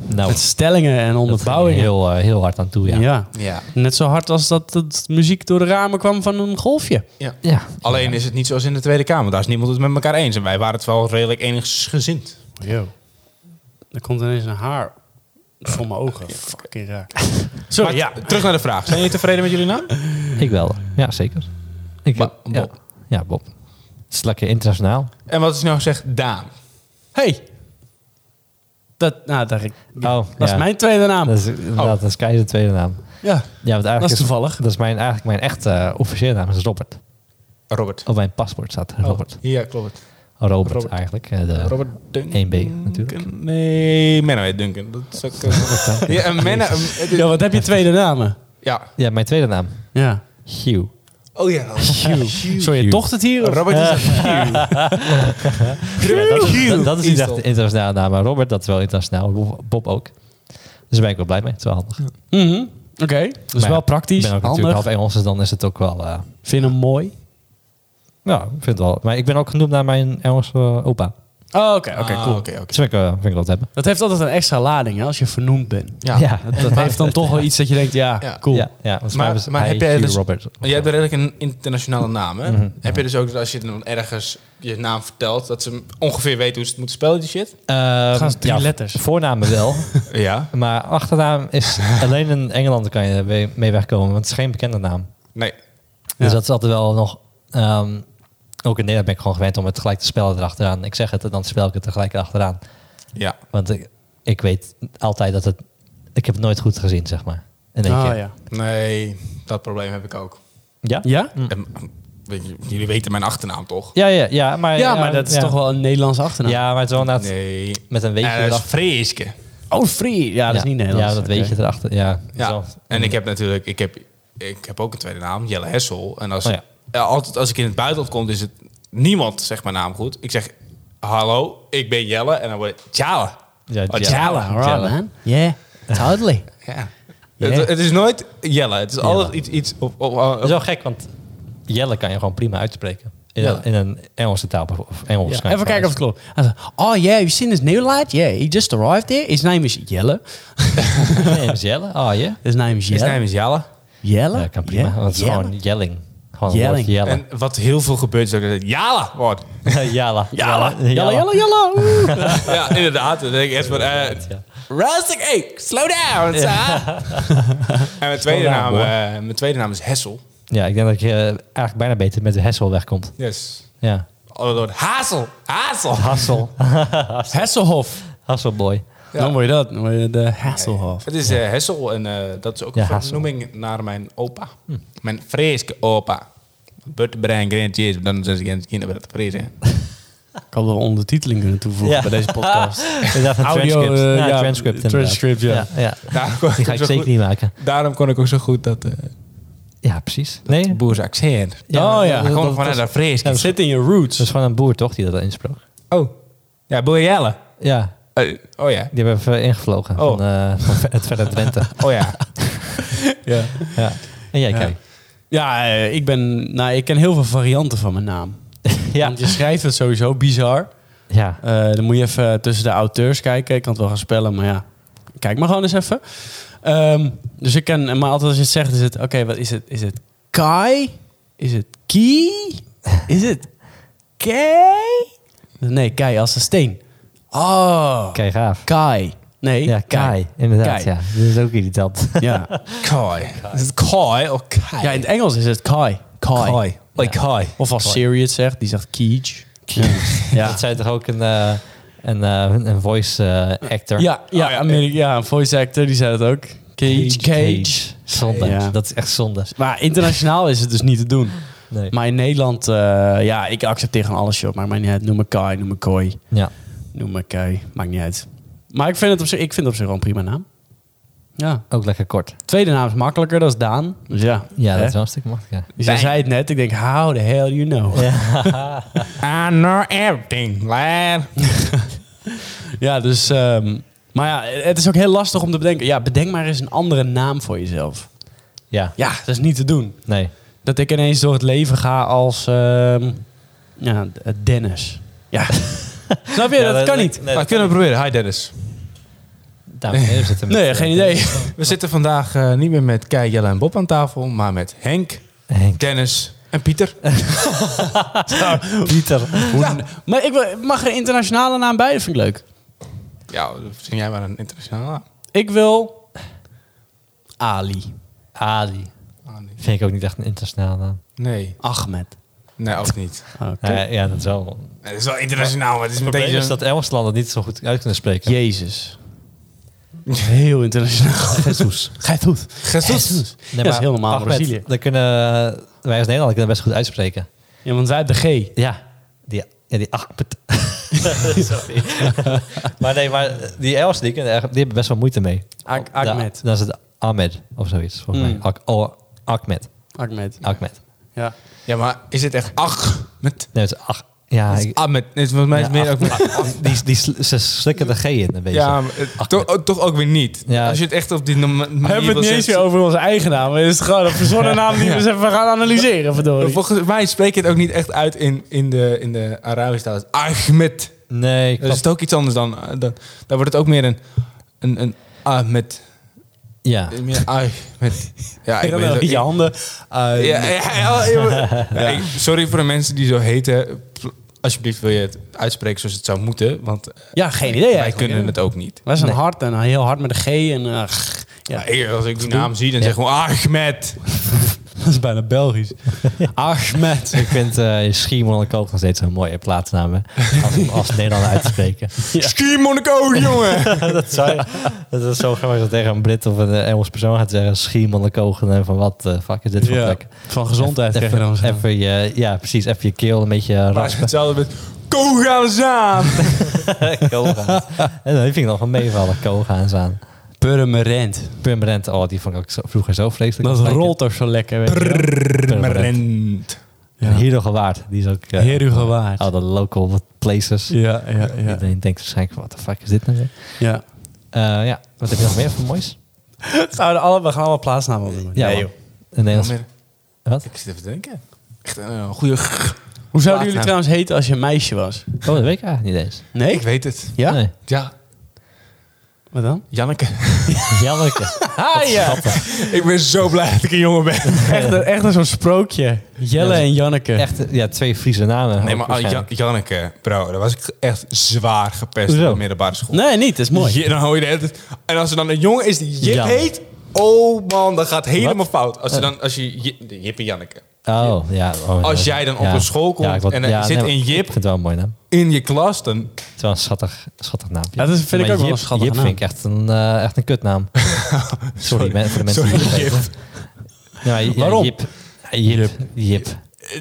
[SPEAKER 2] Nou,
[SPEAKER 1] Met stellingen en
[SPEAKER 2] dat ging
[SPEAKER 1] onderbouwingen.
[SPEAKER 2] heel, eh, heel hard aan toe, ja.
[SPEAKER 1] ja.
[SPEAKER 3] Ja.
[SPEAKER 1] Net zo hard als dat het muziek door de ramen kwam van een golfje.
[SPEAKER 3] ja.
[SPEAKER 2] Ja.
[SPEAKER 3] Alleen is het niet zoals in de Tweede Kamer. Daar is niemand het met elkaar eens. En wij waren het wel redelijk eensgezind.
[SPEAKER 1] Yo. Er komt ineens een haar voor mijn ogen. Fucking raar. Sorry,
[SPEAKER 3] Maar t- terug naar de vraag. Zijn jullie tevreden met jullie naam?
[SPEAKER 2] Ik wel. Ja, zeker. Ik,
[SPEAKER 3] Ba-
[SPEAKER 2] ja.
[SPEAKER 3] Bob.
[SPEAKER 2] ja, Bob. Het is lekker internationaal.
[SPEAKER 3] En wat is nou gezegd? Daan.
[SPEAKER 1] Hey. Dat, nou, daar,
[SPEAKER 2] Oh,
[SPEAKER 1] dat
[SPEAKER 2] ja.
[SPEAKER 1] is mijn Oh. tweede naam.
[SPEAKER 2] Dat is, inderdaad, dat is Keizer de tweede naam.
[SPEAKER 1] ja.
[SPEAKER 2] Ja, want eigenlijk
[SPEAKER 1] Dat is toevallig.
[SPEAKER 2] Dat is mijn, eigenlijk mijn echte eh, officiële naam, is Robert.
[SPEAKER 3] Robert.
[SPEAKER 2] Op mijn paspoort staat
[SPEAKER 1] Oh.
[SPEAKER 2] Robert.
[SPEAKER 3] Ja, klopt.
[SPEAKER 2] Robert,
[SPEAKER 3] Robert.
[SPEAKER 2] eigenlijk. eh, de
[SPEAKER 3] Robert Duncan.
[SPEAKER 2] 1B natuurlijk.
[SPEAKER 3] Nee, Menno heet Duncan. Dat is ook... eh, ja, en Menno... eh,
[SPEAKER 1] ja, wat heb je tweede namen?
[SPEAKER 3] Ja.
[SPEAKER 2] Ja, mijn tweede naam.
[SPEAKER 1] Ja.
[SPEAKER 2] Hugh.
[SPEAKER 3] Oh ja.
[SPEAKER 1] Sorry, je dochter het hier? of-
[SPEAKER 3] Robert is... [LAUGHS]
[SPEAKER 2] Ja, dat, is- dat, dat is niet
[SPEAKER 3] Is
[SPEAKER 2] echt
[SPEAKER 3] dat.
[SPEAKER 2] de internationale naam, maar Robert dat is wel internationaal. Bob- Bob ook. Dus daar ben ik wel blij mee. Het is wel handig. Maar
[SPEAKER 1] Mhm. Oké, dus
[SPEAKER 2] ja,
[SPEAKER 1] wel
[SPEAKER 2] Ik
[SPEAKER 1] praktisch,
[SPEAKER 2] ben ook
[SPEAKER 1] handig.
[SPEAKER 2] natuurlijk half Engels, dus dan is het ook wel... eh,
[SPEAKER 1] Vind hem mooi.
[SPEAKER 2] nou, ik vind het wel. Maar ik ben ook genoemd naar mijn Engelse eh, opa.
[SPEAKER 1] Oh, oké, oké,
[SPEAKER 3] Ah,
[SPEAKER 1] cool.
[SPEAKER 3] oké, oké.
[SPEAKER 2] Dus vind ik, eh, vind ik wel te hebben.
[SPEAKER 1] Dat heeft altijd een extra lading hè, als je vernoemd bent.
[SPEAKER 3] Ja.
[SPEAKER 2] Ja.
[SPEAKER 1] Dat, dat heeft dan toch wel iets dat je denkt, ja,
[SPEAKER 3] Ja.
[SPEAKER 1] cool.
[SPEAKER 2] Ja, ja want
[SPEAKER 3] Maar-
[SPEAKER 2] maar, is
[SPEAKER 3] maar
[SPEAKER 2] hij,
[SPEAKER 3] heb jij
[SPEAKER 2] Hugh
[SPEAKER 3] dus-
[SPEAKER 2] Robert.
[SPEAKER 3] Maar jij hebt redelijk een internationale naam, hè? Heb je dus ook dat als je dan ergens je naam vertelt, dat ze ongeveer weten hoe ze het moeten spellen, die shit?
[SPEAKER 2] Ehm,
[SPEAKER 1] Gaan ze drie
[SPEAKER 2] ja,
[SPEAKER 1] letters.
[SPEAKER 2] Voornamen
[SPEAKER 1] [LAUGHS]
[SPEAKER 2] wel,
[SPEAKER 3] [LAUGHS] Ja.
[SPEAKER 2] maar achternaam is alleen in Engeland kan je mee- mee wegkomen, want het is geen bekende naam.
[SPEAKER 3] Nee.
[SPEAKER 2] Dus
[SPEAKER 1] Ja.
[SPEAKER 2] dat is altijd wel nog. ehm, ook in Nederland ben ik gewoon gewend om het gelijk te spellen erachteraan. Ik zeg het en dan spel ik het er gelijk achteraan.
[SPEAKER 3] Ja.
[SPEAKER 2] Want ik, ik weet altijd dat het. Ik heb het nooit goed gezien, zeg maar. In één
[SPEAKER 1] Ah,
[SPEAKER 2] keer.
[SPEAKER 1] ja.
[SPEAKER 3] Nee, dat probleem heb ik ook.
[SPEAKER 2] Ja?
[SPEAKER 1] Ja?
[SPEAKER 3] En, weet je, jullie weten mijn achternaam, toch?
[SPEAKER 2] Ja, ja, ja, maar,
[SPEAKER 1] Ja, maar dat is
[SPEAKER 2] ja.
[SPEAKER 1] toch wel een Nederlandse achternaam.
[SPEAKER 2] Ja, maar het is wel inderdaad
[SPEAKER 3] Nee.
[SPEAKER 2] met een weetje
[SPEAKER 3] Ja, dat is
[SPEAKER 2] erachter.
[SPEAKER 3] Freeske.
[SPEAKER 1] Oh, free. Ja, dat is niet Nederlands.
[SPEAKER 2] Ja, dat
[SPEAKER 1] Oké.
[SPEAKER 2] weet je erachter. Ja,
[SPEAKER 3] Ja.
[SPEAKER 2] zo.
[SPEAKER 3] En ik heb natuurlijk, ik heb, ik heb ook een tweede naam, Jelle Hessel. En als,
[SPEAKER 2] Oh ja.
[SPEAKER 3] ja, altijd als ik in het buitenland kom, is het niemand zegt mijn naam goed. Ik zeg, hallo, ik ben Jelle. En dan word ik Jelle.
[SPEAKER 2] Ja,
[SPEAKER 3] Oh,
[SPEAKER 2] Jelle.
[SPEAKER 1] Jalla, all right,
[SPEAKER 2] Jalla.
[SPEAKER 1] man. Yeah, totally. [LAUGHS]
[SPEAKER 3] Ja.
[SPEAKER 1] Ja.
[SPEAKER 3] Het, het is nooit Jelle. Het is altijd
[SPEAKER 2] Jelle.
[SPEAKER 3] iets, iets op, op, op-
[SPEAKER 2] Dat is wel gek, want Jelle kan je gewoon prima uitspreken. In,
[SPEAKER 3] Ja.
[SPEAKER 2] een, in een Engelse taal bijvoorbeeld. Of Engels.
[SPEAKER 1] Ja,
[SPEAKER 2] kan je
[SPEAKER 1] Even kijken of het klopt. Hij zei, oh yeah, you seen this new lad? Yeah, he just arrived there. His name is Jelle.
[SPEAKER 2] Mijn naam is Jelle. Ah, ja.
[SPEAKER 1] His name is
[SPEAKER 3] His
[SPEAKER 1] Jelle.
[SPEAKER 3] name is Jelle.
[SPEAKER 1] Jelle?
[SPEAKER 2] Ja, kan prima.
[SPEAKER 1] Yeah,
[SPEAKER 2] Want het is
[SPEAKER 1] Jelle.
[SPEAKER 2] gewoon yelling. Gewoon het
[SPEAKER 1] Yelling.
[SPEAKER 2] woord yellen.
[SPEAKER 3] En wat heel veel gebeurt, is ook dat het Jelle wordt.
[SPEAKER 2] [LAUGHS] Jalla.
[SPEAKER 3] Jalla.
[SPEAKER 1] Jelle, Jelle, Jelle.
[SPEAKER 3] [LAUGHS] ja, inderdaad. Dan denk ik echt van... eh Rustig, hey, slow down, sa. En mijn tweede,
[SPEAKER 2] down,
[SPEAKER 3] naam,
[SPEAKER 2] hoor.
[SPEAKER 3] eh, mijn tweede naam is Hessel.
[SPEAKER 2] Ja, ik denk dat je eh, eigenlijk bijna beter met de hessel wegkomt.
[SPEAKER 3] Yes.
[SPEAKER 2] Ja.
[SPEAKER 3] Oh, Lord. Hazel, Hazel.
[SPEAKER 2] [LAUGHS] Hassel.
[SPEAKER 1] Hasselhoff.
[SPEAKER 2] Hasselboy.
[SPEAKER 1] Dan word je dat. Dan word je de Hasselhoff.
[SPEAKER 3] Het is eh, Hessel en eh, dat is ook
[SPEAKER 2] Ja,
[SPEAKER 3] een
[SPEAKER 2] Hassel.
[SPEAKER 3] vernoeming naar mijn opa. Mijn vreeske opa. Bert Brian Grant Jezus, dan zijn ze geen kinderen met vrees. hè.
[SPEAKER 1] Ik had wel ondertiteling kunnen toevoegen bij deze
[SPEAKER 2] [LAUGHS]
[SPEAKER 1] podcast.
[SPEAKER 2] Inderdaad, een
[SPEAKER 1] Audio,
[SPEAKER 2] transcript.
[SPEAKER 1] eh,
[SPEAKER 2] ja,
[SPEAKER 1] ja,
[SPEAKER 2] transcript inderdaad.
[SPEAKER 1] transcript, ja.
[SPEAKER 2] ja,
[SPEAKER 3] Daarom kon
[SPEAKER 2] Die
[SPEAKER 3] ik,
[SPEAKER 2] ga
[SPEAKER 3] ook
[SPEAKER 2] ik
[SPEAKER 3] zo
[SPEAKER 2] zeker
[SPEAKER 3] goed,
[SPEAKER 2] niet maken.
[SPEAKER 3] daarom kon ik ook zo goed dat, eh
[SPEAKER 2] Ja, precies. Nee,
[SPEAKER 3] dat boers accent.
[SPEAKER 2] Ja,
[SPEAKER 1] oh ja,
[SPEAKER 3] Dat
[SPEAKER 1] dat,
[SPEAKER 3] komt vanuit dat vreeske.
[SPEAKER 1] dat zit in je roots.
[SPEAKER 2] dat is gewoon een boer toch die dat insprook?
[SPEAKER 3] Oh, ja, Boer Jelle.
[SPEAKER 2] Ja,
[SPEAKER 3] Eh, oh ja,
[SPEAKER 2] die hebben we even ingevlogen
[SPEAKER 3] Oh.
[SPEAKER 2] van, eh, van ver- het verder Drenthe.
[SPEAKER 3] [LAUGHS] oh ja.
[SPEAKER 1] ja.
[SPEAKER 2] ja. En jij, kijk.
[SPEAKER 1] Ja, eh, ik ben... Nou, ik ken heel veel varianten van mijn naam.
[SPEAKER 2] Ja.
[SPEAKER 1] Want je schrijft het sowieso bizar.
[SPEAKER 2] Ja.
[SPEAKER 1] Eh, dan moet je even tussen de auteurs kijken. Ik kan het wel gaan spellen, maar ja. Kijk maar gewoon eens even. Ehm, dus ik ken... Maar altijd als je het zegt, is het... Oké, wat is het? Is het Kai? Is het Ki? Is het Kei? Nee, Kei als een steen. Oh,
[SPEAKER 2] Kijk, gaaf.
[SPEAKER 1] Kai. Nee,
[SPEAKER 2] Ja, Kai. Inderdaad,
[SPEAKER 1] Kai.
[SPEAKER 2] ja. Dat is ook irritant.
[SPEAKER 1] Ja.
[SPEAKER 3] Kai. [LAUGHS] Is het Kai of Kai?
[SPEAKER 1] ja, in het Engels is het Kai. Kai.
[SPEAKER 3] Kai. Oi, Kai.
[SPEAKER 1] Of als Siri het zegt, die zegt Keej. [LAUGHS] Ja.
[SPEAKER 2] Dat zei toch ook een, eh, een, eh, een voice eh, actor?
[SPEAKER 1] Ja, ja,
[SPEAKER 3] Oh ja,
[SPEAKER 1] Ameri- ja, een voice actor, die zei dat ook. Cage, cage.
[SPEAKER 2] Zonde.
[SPEAKER 1] Ja.
[SPEAKER 2] Dat is echt zonde.
[SPEAKER 1] Maar internationaal is het dus niet te doen.
[SPEAKER 2] Nee.
[SPEAKER 1] Maar in Nederland, eh, ja, ik accepteer gewoon alles, joh. Maar maakt niet uit. Noem me Kai, noem me Kooi,
[SPEAKER 2] ja.
[SPEAKER 1] noem me Kei. Maakt niet uit. Maar ik vind het op zich, ik vind het op zich wel een prima naam. Ja.
[SPEAKER 2] Ook lekker kort.
[SPEAKER 1] Tweede naam is makkelijker, dat is Daan. Dus ja.
[SPEAKER 2] Ja,
[SPEAKER 1] hè?
[SPEAKER 2] dat is wel een stuk makkelijker.
[SPEAKER 1] Dus jij zei het net, ik denk, how the hell you know? [LAUGHS] Ja,
[SPEAKER 3] I know everything, lad.
[SPEAKER 1] dus... ehm, maar ja, het is ook heel lastig om te bedenken. Ja, bedenk maar eens een andere naam voor jezelf.
[SPEAKER 2] Ja.
[SPEAKER 1] Ja, dat is niet te doen.
[SPEAKER 2] Nee.
[SPEAKER 1] Dat ik ineens door het leven ga als ehm, ja, eh, Dennis. Ja. [LAUGHS] Snap je?
[SPEAKER 2] Ja,
[SPEAKER 1] dat,
[SPEAKER 2] dat-
[SPEAKER 1] kan
[SPEAKER 2] dat-
[SPEAKER 1] niet.
[SPEAKER 2] nee,
[SPEAKER 3] maar
[SPEAKER 2] dat
[SPEAKER 3] kunnen we proberen. Hi Dennis.
[SPEAKER 2] Dames en
[SPEAKER 1] [LAUGHS]
[SPEAKER 2] heren, zitten we
[SPEAKER 1] Nee,
[SPEAKER 2] met,
[SPEAKER 1] geen
[SPEAKER 2] eh,
[SPEAKER 1] idee.
[SPEAKER 3] We zitten vandaag eh, niet meer met Kai, Jelle en Bob aan tafel, maar met Henk,
[SPEAKER 2] [LAUGHS] Henk.
[SPEAKER 3] Dennis en Pieter.
[SPEAKER 2] Pieter.
[SPEAKER 1] Maar ik wil- mag er een internationale naam bij, dat vind ik leuk.
[SPEAKER 3] Ja, verzin jij maar een internationale naam.
[SPEAKER 1] Ik wil Ali,
[SPEAKER 2] Ali.
[SPEAKER 3] Ah, nee.
[SPEAKER 2] Vind ik ook niet echt een internationale naam.
[SPEAKER 3] Nee,
[SPEAKER 1] Ahmed.
[SPEAKER 3] nee, ook niet.
[SPEAKER 1] Oké.
[SPEAKER 2] Nee, ja, dat is wel.
[SPEAKER 3] Het is wel internationaal, maar het is
[SPEAKER 2] Het probleem
[SPEAKER 3] meteen
[SPEAKER 2] is dat Engelslanden het niet zo goed uit kunnen spreken.
[SPEAKER 1] Jezus. Heel internationaal.
[SPEAKER 2] Jesus.
[SPEAKER 1] Jesus. Jesus. Ja, dat is heel normaal in
[SPEAKER 2] Ahmed,
[SPEAKER 1] Brazilië.
[SPEAKER 2] Dat kunnen eh, wij als Nederlander kunnen best goed uitspreken.
[SPEAKER 1] Ja, want wij hebben de G.
[SPEAKER 2] Ja, die, ja, die Ahmed. [LAUGHS] Sorry. maar nee, maar die Engelsen die, kunnen, echt- die hebben best wel moeite mee.
[SPEAKER 1] Ak-
[SPEAKER 2] Da-
[SPEAKER 1] Ahmed.
[SPEAKER 2] Dan is het Ahmed of zoiets. Volgens
[SPEAKER 1] Mm.
[SPEAKER 2] mij. Ak- oh, Ahmed.
[SPEAKER 1] Ahmed.
[SPEAKER 2] Ahmed.
[SPEAKER 1] Ja.
[SPEAKER 3] Ja, maar is het echt ach met...
[SPEAKER 2] Nee, het is Ach. Ja, ik-
[SPEAKER 3] Ah, met, het is volgens mij is
[SPEAKER 2] ja,
[SPEAKER 3] het meer ook met...
[SPEAKER 2] Ahmed. die, die, sl- ze slikken de G in een beetje.
[SPEAKER 3] Ja, maar het- toch, ook- toch ook weer niet.
[SPEAKER 2] Ja.
[SPEAKER 3] Als je het echt op die norma- manier
[SPEAKER 1] We hebben het
[SPEAKER 3] wil
[SPEAKER 1] niet eens meer
[SPEAKER 3] zetten-
[SPEAKER 1] over onze eigen naam. Het is gewoon een verzonnen naam die we eens even gaan analyseren, verdorie.
[SPEAKER 3] Volgens mij spreek je het ook niet echt uit in, in de, in de Arabische taal. Ahmed.
[SPEAKER 2] Nee, ik
[SPEAKER 3] Dat is
[SPEAKER 2] snap-
[SPEAKER 3] het ook iets anders dan. eh, dat, daar wordt het ook meer een. een, een ah, met.
[SPEAKER 2] ja.
[SPEAKER 3] Meer, ah, met
[SPEAKER 1] [LAUGHS]
[SPEAKER 3] ja, ik
[SPEAKER 1] dan
[SPEAKER 3] weet
[SPEAKER 1] met
[SPEAKER 3] het-
[SPEAKER 1] je handen.
[SPEAKER 3] Ja,
[SPEAKER 1] uit.
[SPEAKER 3] ja, ja,
[SPEAKER 1] [LAUGHS]
[SPEAKER 3] ja, maar- Ja, ik- sorry voor de mensen die zo heten. Alsjeblieft wil je het uitspreken zoals het zou moeten. Want eh,
[SPEAKER 1] Ja, geen idee
[SPEAKER 3] wij
[SPEAKER 1] eigenlijk.
[SPEAKER 3] kunnen
[SPEAKER 1] hè.
[SPEAKER 3] het ook niet.
[SPEAKER 1] Wij zijn hard en eh, heel hard met de G en... eh, g. ja,
[SPEAKER 3] Maar ik- als ik die naam zie, dan zeg ik gewoon Ahmed.
[SPEAKER 1] [LAUGHS] dat is bijna Belgisch. Ahmed.
[SPEAKER 2] Ik vind eh Schiermond en Koop nog steeds een mooie plaatsnaam. hè. Als, als Nederlander uit te spreken.
[SPEAKER 3] Ski Monaco, jongen.
[SPEAKER 2] [LAUGHS] dat, zou je- dat is zo grappig als je tegen een Brit of een eh, Engels persoon gaat zeggen... Schiermond en Kogen en van wat de fuck is dit voor
[SPEAKER 1] Ja,
[SPEAKER 2] plek?
[SPEAKER 1] van gezondheid krijg je dan
[SPEAKER 2] Even,
[SPEAKER 1] zo.
[SPEAKER 2] even je, ja, precies. Even je keel een beetje
[SPEAKER 3] Maar het is
[SPEAKER 2] raspen.
[SPEAKER 3] hetzelfde met Kogazaam.
[SPEAKER 1] [LAUGHS]
[SPEAKER 2] Kogaan. En dat vind ik nog wel meevallen. Kogaans aan.
[SPEAKER 1] Purmerend.
[SPEAKER 2] Permanent. Oh, die vond ik ook zo- vroeger zo vreselijk.
[SPEAKER 1] Dat
[SPEAKER 2] lekker.
[SPEAKER 1] rolt toch zo lekker, weet je wel.
[SPEAKER 3] Permanent.
[SPEAKER 1] Ja.
[SPEAKER 2] En Hero Gewaard. Die is ook... eh,
[SPEAKER 1] Heer u gewaard.
[SPEAKER 2] Al de local places.
[SPEAKER 1] Ja, ja, ja.
[SPEAKER 2] Iedereen denkt waarschijnlijk, wat de fuck is dit nou weer?
[SPEAKER 1] ja. [LAUGHS]
[SPEAKER 2] Eh, ja, wat heb je nog meer voor moois?
[SPEAKER 1] Gaan we, er alle, we gaan allemaal plaatsnamen opnoemen.
[SPEAKER 2] Ja,
[SPEAKER 1] Nee,
[SPEAKER 2] man. Een Nederlands. Wat?
[SPEAKER 3] Ik zit even te denken. Echt een
[SPEAKER 1] Hoe
[SPEAKER 3] goede.
[SPEAKER 1] zouden jullie
[SPEAKER 3] Plaatsnaam.
[SPEAKER 1] trouwens heten als je een meisje was?
[SPEAKER 2] Oh, dat weet ik eigenlijk niet eens.
[SPEAKER 1] Nee?
[SPEAKER 3] Ik weet het.
[SPEAKER 1] Ja?
[SPEAKER 2] Nee.
[SPEAKER 3] Ja,
[SPEAKER 1] Wat dan?
[SPEAKER 3] Janneke. [LAUGHS]
[SPEAKER 2] Janneke.
[SPEAKER 1] Ah ja!
[SPEAKER 3] ik ben zo blij dat ik een jongen ben.
[SPEAKER 1] [LAUGHS] Echt, een- echt een zo'n sprookje. Jelle
[SPEAKER 2] Ja,
[SPEAKER 1] en Janneke.
[SPEAKER 2] Echt, eh, ja, twee Friese namen.
[SPEAKER 3] Nee,
[SPEAKER 2] ook
[SPEAKER 3] maar ah,
[SPEAKER 2] waarschijnlijk.
[SPEAKER 3] Jan- Janneke, bro, daar was ik echt zwaar gepest
[SPEAKER 2] Hoezo?
[SPEAKER 3] op de middelbare school.
[SPEAKER 1] Nee, niet. Dat is mooi.
[SPEAKER 3] Je- dan hoor je de hele tijd- En als er dan een jongen is die Jip
[SPEAKER 2] Jan.
[SPEAKER 3] heet, oh man, dat gaat helemaal fout. Als, je dan, als je J- de Jip en Janneke,
[SPEAKER 2] Oh, ja. oh,
[SPEAKER 3] Als
[SPEAKER 2] ja.
[SPEAKER 3] jij dan op een school komt
[SPEAKER 2] ik wou-
[SPEAKER 3] en er zit
[SPEAKER 2] maar
[SPEAKER 3] een Jip.
[SPEAKER 2] Ik vind het wel een mooie naam.
[SPEAKER 3] in je klas, dan...
[SPEAKER 2] Het is wel een schattig, schattig naam.
[SPEAKER 1] Ja, dat vind ik ook wel een
[SPEAKER 2] Jip-
[SPEAKER 1] schattige
[SPEAKER 2] Jip
[SPEAKER 1] naam.
[SPEAKER 2] vind ik echt een, eh, echt een
[SPEAKER 3] [LAUGHS]
[SPEAKER 2] kutnaam. sorry, men- voor de mensen
[SPEAKER 3] Sorry,
[SPEAKER 2] die het weten. Ja, ja,
[SPEAKER 1] Waarom?
[SPEAKER 2] Jip. Ja, Jip. Jip.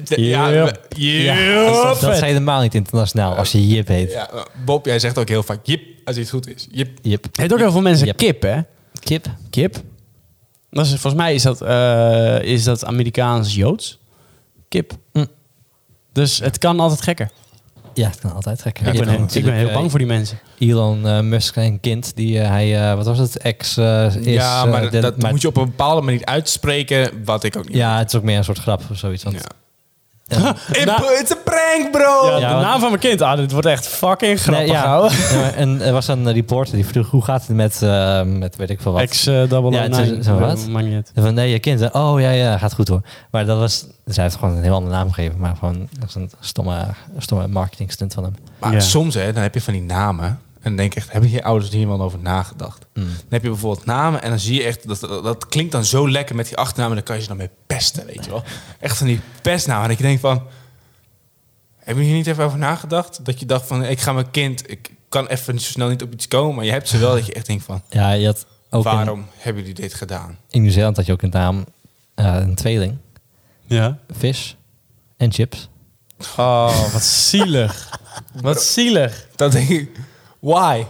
[SPEAKER 3] de- Ja,
[SPEAKER 1] Jip.
[SPEAKER 3] we- Jip.
[SPEAKER 2] Dat zijn helemaal niet internationaal als je Jip heet.
[SPEAKER 3] Ja, maar Bob, jij zegt ook heel vaak Jip, als iets goed is. Jip.
[SPEAKER 2] Jip.
[SPEAKER 1] Heet ook heel veel mensen
[SPEAKER 2] Yep.
[SPEAKER 1] kip, hè?
[SPEAKER 2] Kip.
[SPEAKER 1] Kip. Dat is, volgens mij is dat, eh, is dat Amerikaans-Joods. Kip. Dus het kan altijd gekker.
[SPEAKER 2] Ja, het kan altijd gekker.
[SPEAKER 1] ik,
[SPEAKER 2] Je
[SPEAKER 1] ben,
[SPEAKER 2] hebt
[SPEAKER 1] heel- ik ben
[SPEAKER 2] natuurlijk,
[SPEAKER 1] heel
[SPEAKER 2] eh,
[SPEAKER 1] bang voor die mensen.
[SPEAKER 2] Elon eh, Musk en kind, die eh, hij, eh, wat was het, ex eh, is.
[SPEAKER 3] ja,
[SPEAKER 2] eh,
[SPEAKER 3] maar
[SPEAKER 2] de-
[SPEAKER 3] dat
[SPEAKER 2] maar-
[SPEAKER 3] moet je op een bepaalde manier uitspreken, wat ik ook niet...
[SPEAKER 2] Ja, het is ook meer een soort grap of zoiets. want- [LAUGHS]
[SPEAKER 3] Ja.
[SPEAKER 2] Ja.
[SPEAKER 3] It's a- It's a prank, bro!
[SPEAKER 1] Ja,
[SPEAKER 2] Ja,
[SPEAKER 1] Oh, de
[SPEAKER 2] want-
[SPEAKER 1] naam van mijn kind. Ah, dit wordt echt fucking grappig,
[SPEAKER 2] Nee, ja.
[SPEAKER 1] ouwe.
[SPEAKER 2] Ja, maar en er was een reporter die vroeg, hoe gaat het met, eh, met weet ik veel wat.
[SPEAKER 1] Ex eh, double
[SPEAKER 2] Ja, het is-
[SPEAKER 1] nine.
[SPEAKER 2] zo wat?
[SPEAKER 1] Maakt niet uit.
[SPEAKER 2] En van, nee, je kind. zei, Oh, ja, ja, gaat goed hoor. Maar dat was, dus hij heeft gewoon een heel andere naam gegeven. Maar gewoon, dat is een stomme, stomme marketing stunt van hem.
[SPEAKER 3] Maar
[SPEAKER 1] Ja.
[SPEAKER 3] soms hè, dan heb je van die namen. En dan denk ik echt, hebben je ouders hier wel over nagedacht?
[SPEAKER 2] Mm.
[SPEAKER 3] Dan heb je bijvoorbeeld namen en dan zie je echt, dat, dat, dat klinkt dan zo lekker met die achternamen, daar kan je ze dan mee pesten, weet je wel. Echt van die pestnamen. En ik denk van, heb je hier niet even over nagedacht? Dat je dacht van, ik ga mijn kind, ik kan even zo snel niet op iets komen, maar je hebt ze wel dat je echt denkt van,
[SPEAKER 2] Ja, je had ook in-
[SPEAKER 3] waarom hebben jullie dit gedaan?
[SPEAKER 2] in Nieuw-Zeeland had je ook een naam, eh, een tweeling,
[SPEAKER 1] Ja.
[SPEAKER 2] vis en chips.
[SPEAKER 1] Oh, wat zielig. wat zielig.
[SPEAKER 3] Dat denk ik, why?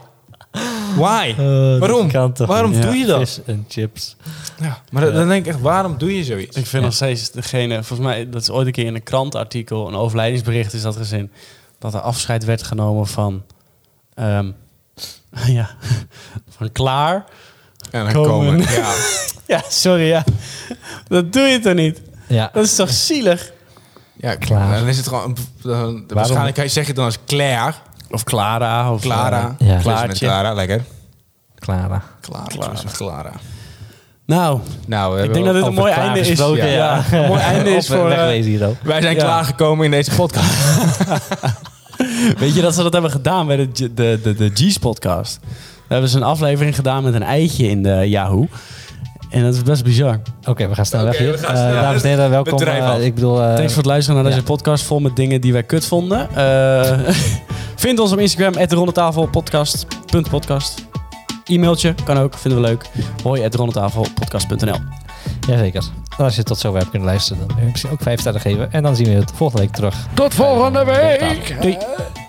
[SPEAKER 1] Eh,
[SPEAKER 3] Why? waarom? Waarom
[SPEAKER 1] niet?
[SPEAKER 3] doe je dat?
[SPEAKER 2] Vis en chips.
[SPEAKER 3] Ja, maar dan- dan denk ik echt, waarom doe je zoiets?
[SPEAKER 1] Ik vind nog steeds degene, volgens mij, dat is ooit een keer in een krantartikel, een overlijdingsbericht is dat gezin, dat er afscheid werd genomen van, ehm, [LAUGHS] ja, van klaar.
[SPEAKER 3] En dan
[SPEAKER 1] Komen.
[SPEAKER 3] komen. Ja.
[SPEAKER 1] Ja, sorry, ja. Dat doe je toch niet?
[SPEAKER 2] Ja.
[SPEAKER 1] Dat is toch zielig? [LAUGHS]
[SPEAKER 3] Ja,
[SPEAKER 2] Klaar.
[SPEAKER 3] klaar. Dan is het gewoon. Dan, de waarschijnlijkheid zeg je dan als Claire.
[SPEAKER 1] Of Clara. Of eh,
[SPEAKER 3] Clara.
[SPEAKER 2] Ja.
[SPEAKER 3] Claire met Clara, lekker.
[SPEAKER 2] Clara.
[SPEAKER 3] Clara. Clara. Clara.
[SPEAKER 1] Nou,
[SPEAKER 3] Nou, we
[SPEAKER 1] ik
[SPEAKER 3] hebben
[SPEAKER 1] denk dat dit een
[SPEAKER 2] over
[SPEAKER 1] mooi
[SPEAKER 2] Klaar
[SPEAKER 1] einde is.
[SPEAKER 2] gesproken,
[SPEAKER 1] Ja, een mooi einde is
[SPEAKER 2] [LAUGHS] Op-
[SPEAKER 1] voor... eh,
[SPEAKER 2] wegwezen hier ook.
[SPEAKER 3] Wij zijn
[SPEAKER 1] Ja.
[SPEAKER 3] klaargekomen in deze podcast.
[SPEAKER 1] Weet je dat ze dat hebben gedaan bij de, G- de, de, de G's podcast? Daar hebben ze een aflevering gedaan met een eitje in de Yahoo. En dat is best bizar.
[SPEAKER 2] Oké, we gaan snel
[SPEAKER 3] Oké,
[SPEAKER 2] weg hier.
[SPEAKER 3] we gaan
[SPEAKER 2] Eh,
[SPEAKER 3] snel.
[SPEAKER 2] dames en heren, welkom.
[SPEAKER 3] Bedrijf
[SPEAKER 2] eh,
[SPEAKER 3] af.
[SPEAKER 2] ik bedoel, eh,
[SPEAKER 1] Thanks voor het luisteren naar deze
[SPEAKER 2] ja.
[SPEAKER 1] podcast vol met dingen die wij kut vonden. Eh, [LAUGHS] vind ons op Instagram, at rondetafelpodcast.podcast. E-mailtje kan ook, vinden we leuk. Hoi, at rondetafelpodcast.nl.
[SPEAKER 2] Jazeker. En als je tot zover hebt kunnen luisteren, dan kun je misschien ook vijf sterren geven. En dan zien we het volgende week terug.
[SPEAKER 5] Tot volgende week.
[SPEAKER 2] Doei.
[SPEAKER 5] Eh,